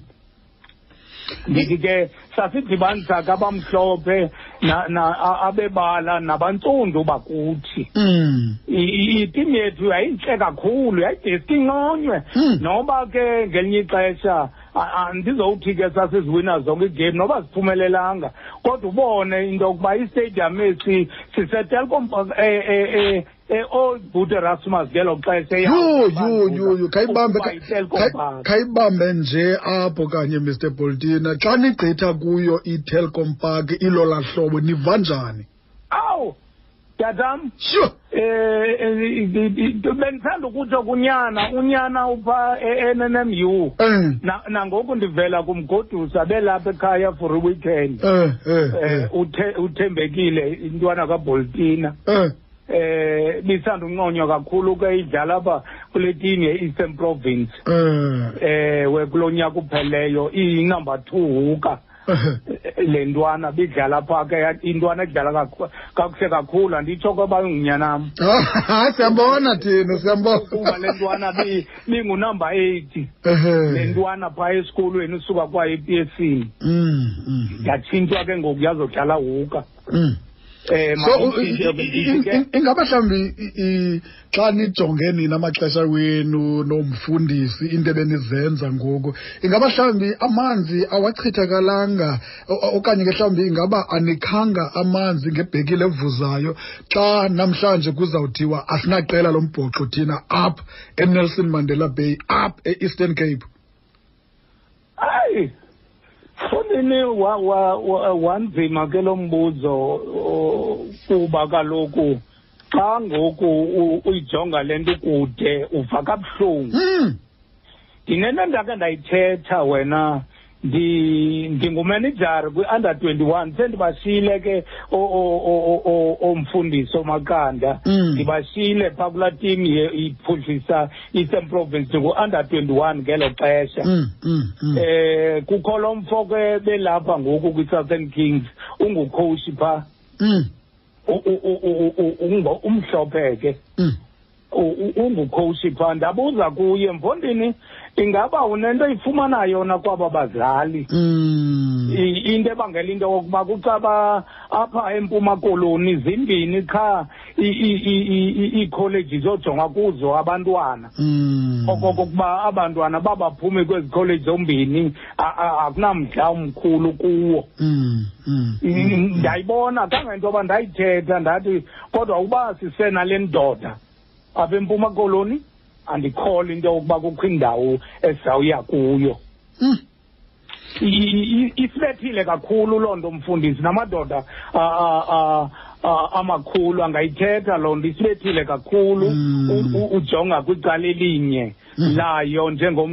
[SPEAKER 3] ndithi ke sasidibanisa ke abamhlophe na- na- a- abebala nabantsundu bakuthi
[SPEAKER 1] Mm.
[SPEAKER 3] I- i- itim yethu yayintle kakhulu yayideske inconywe
[SPEAKER 1] Mm.
[SPEAKER 3] noba ke ngelinye ixesha a- a- ndizowuthi ke sasiziwina zonke igame noba ziphumelelanga kodwa ubone into yokuba istadium esi sisetelkom eh, eold but eh, erasmus ngelo xesha
[SPEAKER 1] yho
[SPEAKER 3] eyabantu
[SPEAKER 1] yho yho yho khayibambe
[SPEAKER 3] ukuba yitelkom
[SPEAKER 1] khay-
[SPEAKER 3] Park.
[SPEAKER 1] khayibambe nje apho kanye mr boltina xa nigqitha kuyo itelcom park ilo lahlobo niva njani
[SPEAKER 3] awu tatam
[SPEAKER 1] sure
[SPEAKER 3] Eh, um bendithanda ukutsho kunyana unyana upha e-nnmu
[SPEAKER 1] eh
[SPEAKER 3] Na- nangoku ndivela kumgodusa belapha ekhaya for iweekend
[SPEAKER 1] eh eh eh
[SPEAKER 3] um uthembekile intwana kaboltina
[SPEAKER 1] eh
[SPEAKER 3] um bisanda unqonywa kakhulu ke idlala apha kule team ye-eastern province
[SPEAKER 1] eh
[SPEAKER 3] ewe kulo nyaka upheleyo iyinumber two huka
[SPEAKER 1] eh
[SPEAKER 3] le ntwana bidlala phaa ke intwana edlala kakhu- kakuhle kakhulu anditsho koba ingunyanam
[SPEAKER 1] hayi siyambona thina
[SPEAKER 3] kuba le
[SPEAKER 1] siyambona
[SPEAKER 3] ntwana bi- bingunumber
[SPEAKER 1] Eh.
[SPEAKER 3] eight le
[SPEAKER 1] Ehhe.
[SPEAKER 3] ntwana phaa esikolweni usuka kwa E epsini
[SPEAKER 1] Mm, mm,
[SPEAKER 3] yatshintshwa ke ngoku yazodlala huka
[SPEAKER 1] mm.
[SPEAKER 3] um
[SPEAKER 1] so u- i- i- i- ingaba mhlawumbi i- i- xa nijonge nina amaxesha wenu nomfundisi into ebenizenza ngoku ingaba mhlawumbi amanzi awachithakalanga o- o- okanye ke mhlawumbi ingaba anikhanga amanzi ngebhekile evuzayo xa namhlanje kuzawuthiwa asinaqela lombhoxo thina apha enelson mandela bay apha e-eastern cape
[SPEAKER 3] hayi fonini wa- wa- wa- wanzima ke lo mbuzo o- kuba kaloku xa ngoku u- uyijonga le nto kude uva kabuhlungu
[SPEAKER 1] mm.
[SPEAKER 3] ndinento ndakhe ndayithetha wena ndi- ndingumanejari kwi-under twenty-one sendibashiyile ke o- o- o- o- o- omfundisi omaqanda
[SPEAKER 1] Mm.
[SPEAKER 3] ndibashiyile phaa kulaa tim iphuhlisa eastern province ndingu-under twenty-one ngelo xesha
[SPEAKER 1] Mm, mm, mm.
[SPEAKER 3] eh kukho lo mfo ke belapha ngoku kwi-southern kings ungukhoshi phaa
[SPEAKER 1] Mm,
[SPEAKER 3] U- u- u- u- u- umbo- umhlophe ke
[SPEAKER 1] mm.
[SPEAKER 3] U- u- ungukhoshi phaa ndabuza kuye mfondini ingaba unento ifumana yona kwaba bazali
[SPEAKER 1] Mm.
[SPEAKER 3] I- into ebangela into yokokuba kucaba apha empuma koloni zimbini qha i- i- i- i- iikholeji zojongwa kuzo abantwana
[SPEAKER 1] Mm.
[SPEAKER 3] okokokuba abantwana babaphume kwezi college zombini a- a- akunamdla umkhulu kuwo
[SPEAKER 1] Mm, mm, mm.
[SPEAKER 3] ndayibona kangento yoba ndayithetha ndathi kodwa uba sisenale ndoda apha empuma koloni andikhole into yokuba kukho indawo esizawuya kuyo
[SPEAKER 1] Mm.
[SPEAKER 3] I- i- i- iflethile kakhulu loo nto mfundisi namadoda a- a- a- a- amakhulu angayithetha loo nto iflethile kakhulu
[SPEAKER 1] Mm.
[SPEAKER 3] U- u- ujonga kwicala elinye
[SPEAKER 1] Mm.
[SPEAKER 3] layo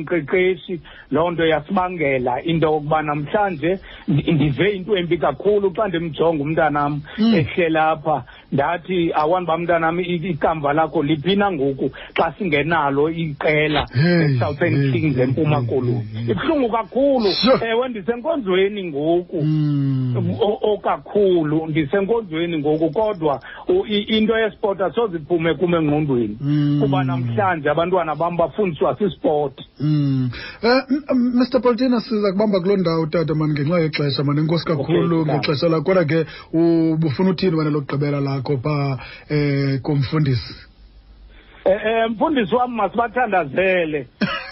[SPEAKER 3] njengomqeqeshi loo nto yasibangela into yokuba namhlanje ndi- ndive into embi kakhulu xa ndimjonga umntanam
[SPEAKER 1] Mm.
[SPEAKER 3] ehlela apha ndathi awani uba mntanam i- ikamva lakho liphina ngoku xa singenalo iqela
[SPEAKER 1] Hey, hey,
[SPEAKER 3] esouthern kings
[SPEAKER 1] hey,
[SPEAKER 3] empuma
[SPEAKER 1] hey, hey, hey.
[SPEAKER 3] koloni ibuhlungu kakhulu
[SPEAKER 1] Sure.
[SPEAKER 3] ewe ndisenkonzweni ngoku
[SPEAKER 1] Mm.
[SPEAKER 3] O- okakhulu ndisenkonzweni ngoku kodwa u- i- into yesport asoze iphume kum engqondweni
[SPEAKER 1] Mm.
[SPEAKER 3] kuba namhlanje abantwana bam bafundiswa sisport
[SPEAKER 1] Mm. Eh, m- m- Mr. Paulina siza kubamba kuloo ndawo tata mani ngenxa yexesha mani enkosi kakhulu
[SPEAKER 3] Okay,
[SPEAKER 1] ngexesha lakho kodwa ke ubufuna uthini wena lokugqibela lakho phaa eh kumfundisi
[SPEAKER 3] Eh, eh, mfundisi wam masibathandazele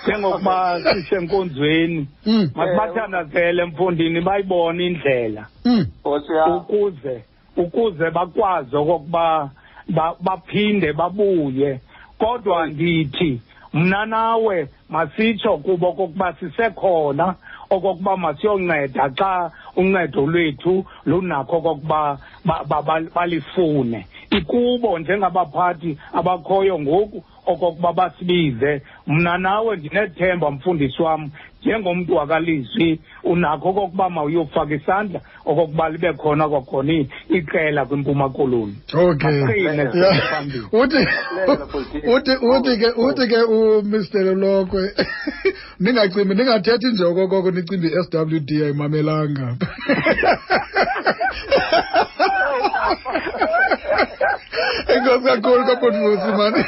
[SPEAKER 3] njengokuba sisenkonzweni
[SPEAKER 1] Mm,
[SPEAKER 3] masibathandazele mfundini bayibone indlela
[SPEAKER 1] mm,
[SPEAKER 2] Nkosi yam.
[SPEAKER 3] ukuze ukuze bakwazi okokuba ba- baphinde babuye kodwa ndithi mna nawe masitsho kubo okokuba sisekhona okokuba masiyonceda xa uncedo lwethu lunakho okokuba ba- ba- ba- balifune ikubo njengabaphathi abakhoyo ngoku okokuba basibize mna nawe ndinethemba mfundisi wam njengomntu wakalizwi unakho okokuba mawuyofaka isandla okokuba libe khona kwakhona i- iqela kwimpuma koloni
[SPEAKER 1] okay
[SPEAKER 3] Baqine,
[SPEAKER 1] Yeah.
[SPEAKER 3] phambili.
[SPEAKER 1] uthi
[SPEAKER 2] Leza, Paulina.
[SPEAKER 1] uthi uthi ke uthi ke umr lokwe ningacimbi ningathethi nje okokoko nicimbi i-swd ayimamelanga enkosi kakhulu kabutfusi mani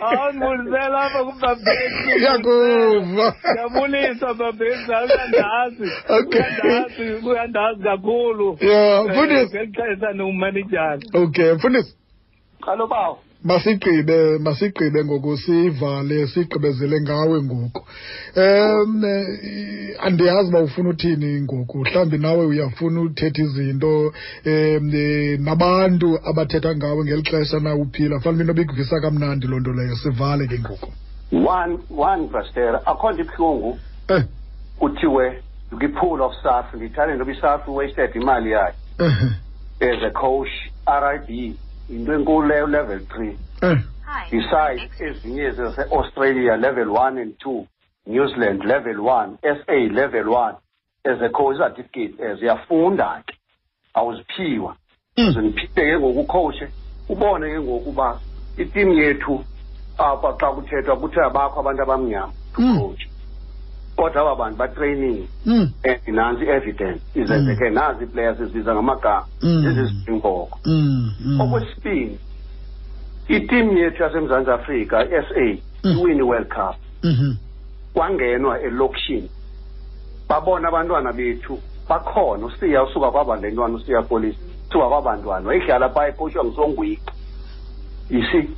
[SPEAKER 3] awundibulisela apha kubabheki
[SPEAKER 1] iyakuva
[SPEAKER 3] ndiyabulisa babheki uyandazi
[SPEAKER 1] Okay.
[SPEAKER 3] uyandazi uyandazi kakhulu
[SPEAKER 1] ya
[SPEAKER 3] Eh,
[SPEAKER 1] mfundisi
[SPEAKER 3] ngeli xesha ndiwumanejala
[SPEAKER 1] okay mfundisi
[SPEAKER 2] Kalo bawo.
[SPEAKER 1] masigqibe masigqibe ngoku sivale sigqibezele ngawe ngoku um eh, andiyazi uba ufuna uthini ngoku mhlawumbi nawe uyafuna uthetha izinto um eh, nabantu abathetha ngawe ngeli xesha na uphila fanele into bikuvisa kamnandi loo nto leyo sivale ke ngoku
[SPEAKER 2] One one Brastera akho nto ibuhlungu
[SPEAKER 1] eh
[SPEAKER 2] kuthiwe kwi-pool of SARF ndithanda into yoba i-SARF wasted imali yakhe
[SPEAKER 1] eh
[SPEAKER 2] as a coach RIB into enkulu leyo level 3
[SPEAKER 1] Eh,
[SPEAKER 2] besides ezinye zase-australia level 1 and 2 new zealand level 1 sa level 1 as a coach certificate as uyafunda ke awuziphiwa
[SPEAKER 1] Mm,
[SPEAKER 2] zeniphinde ke ngoku ucoache ubone ke ngokuba itimu yethu apha xa kuthethwa kuthiwa abakho abantu abamnyama
[SPEAKER 1] Mm.
[SPEAKER 2] coach kodwa aba bantu batraining
[SPEAKER 1] mm,
[SPEAKER 2] and nansi i-evidence izenzeke nazi iplayers ezibiza ngamagama
[SPEAKER 1] Mm.
[SPEAKER 2] zizizibhimboko
[SPEAKER 1] mm, mm.
[SPEAKER 2] okwesibini itimu yethu yasemzantsi afrika i-sa
[SPEAKER 1] Mm.
[SPEAKER 2] iwini world cup
[SPEAKER 1] Mhm,
[SPEAKER 2] kwangenwa elokishini babona abantwana bethu bakhona usiya usuka kwabantwana usiya polisi usuka kwabantwana wayidlala phaa ephotshwa ngusongwiki yisi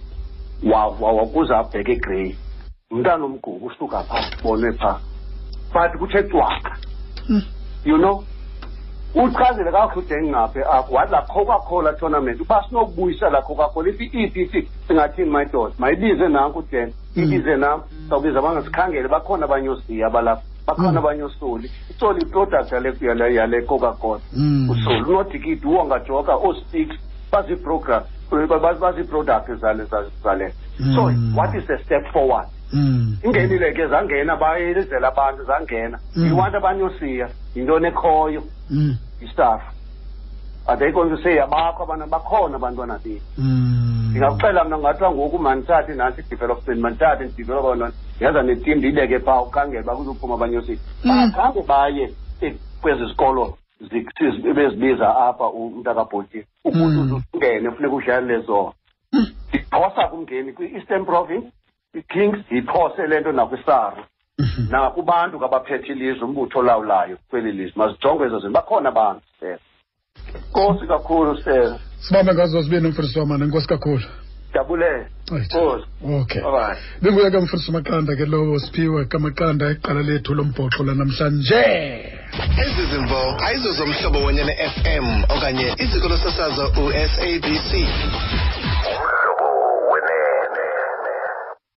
[SPEAKER 2] wakuze abheke egrey umntana omguku usuka phaa bonwe phaa but kuthe cwaka
[SPEAKER 1] mm.
[SPEAKER 2] you know uchazele kakuhle ude engingaphi apho wala coca-cola tournament uba sinokubuyisela coca-cola if i-epp singathini mayidoda mayibize nanku uden
[SPEAKER 1] Mm.
[SPEAKER 2] ibize nam sawubiza abangasikhangele bakhona abanye oosiya abalapha bakhona
[SPEAKER 1] Mm.
[SPEAKER 2] abanye osoli isoli iproduct yale- yale yale coca-cola
[SPEAKER 1] Mm.
[SPEAKER 2] usoli unodikidi uwongajoka oostix baziiprogram baziiproduct zale zale- zale so
[SPEAKER 1] Mm.
[SPEAKER 2] what is a step forward
[SPEAKER 1] Mm.
[SPEAKER 2] ingenile ke zangena bayelizela abantu zangena
[SPEAKER 1] Mm.
[SPEAKER 2] iwanti abanye osiya yintoni ekhoyo
[SPEAKER 1] Mm,
[SPEAKER 2] istaff are they going to say abakho abana bakhona abantwana bethu
[SPEAKER 1] mm.
[SPEAKER 2] ndingakuxela mna ngathiwa ngoku mandithathe nantsi i-development mandithathe ndidevelopa lona yenza netim ndiyibeke phaa ukhangela uba kuzophuma abanye osini
[SPEAKER 1] Mm.
[SPEAKER 2] bakhange baye e- kwezi zikolo zi- siz- bezibiza apha umntakabhotini
[SPEAKER 1] Mm.
[SPEAKER 2] ubhutuze ungene funeka udlalele zona
[SPEAKER 1] Mm.
[SPEAKER 2] ndiphosa kumngeni kwi-eastern province i-kings ndiyiphose le nto nakwisaru
[SPEAKER 1] Mhm.
[SPEAKER 2] nakubantu kabaphethe ilizwe umbutho olawulayo kweli lizwe mazijonge ezo zinto bakhona abantu sela nkosi kakhulu sela
[SPEAKER 1] sibambe ngazo zibini umfundisi wamana enkosi kakhulu
[SPEAKER 2] dabulele
[SPEAKER 1] Right.
[SPEAKER 2] nkosi
[SPEAKER 1] okay
[SPEAKER 2] babaye
[SPEAKER 1] benguye ke mfundisi umaqanda ke lowo siphiwe kamaqanda iqala lethu lombhoxo lanamhlanje
[SPEAKER 7] ezi zimvo ayizozomhlobo wenene fm okanye iziko losasazo usabc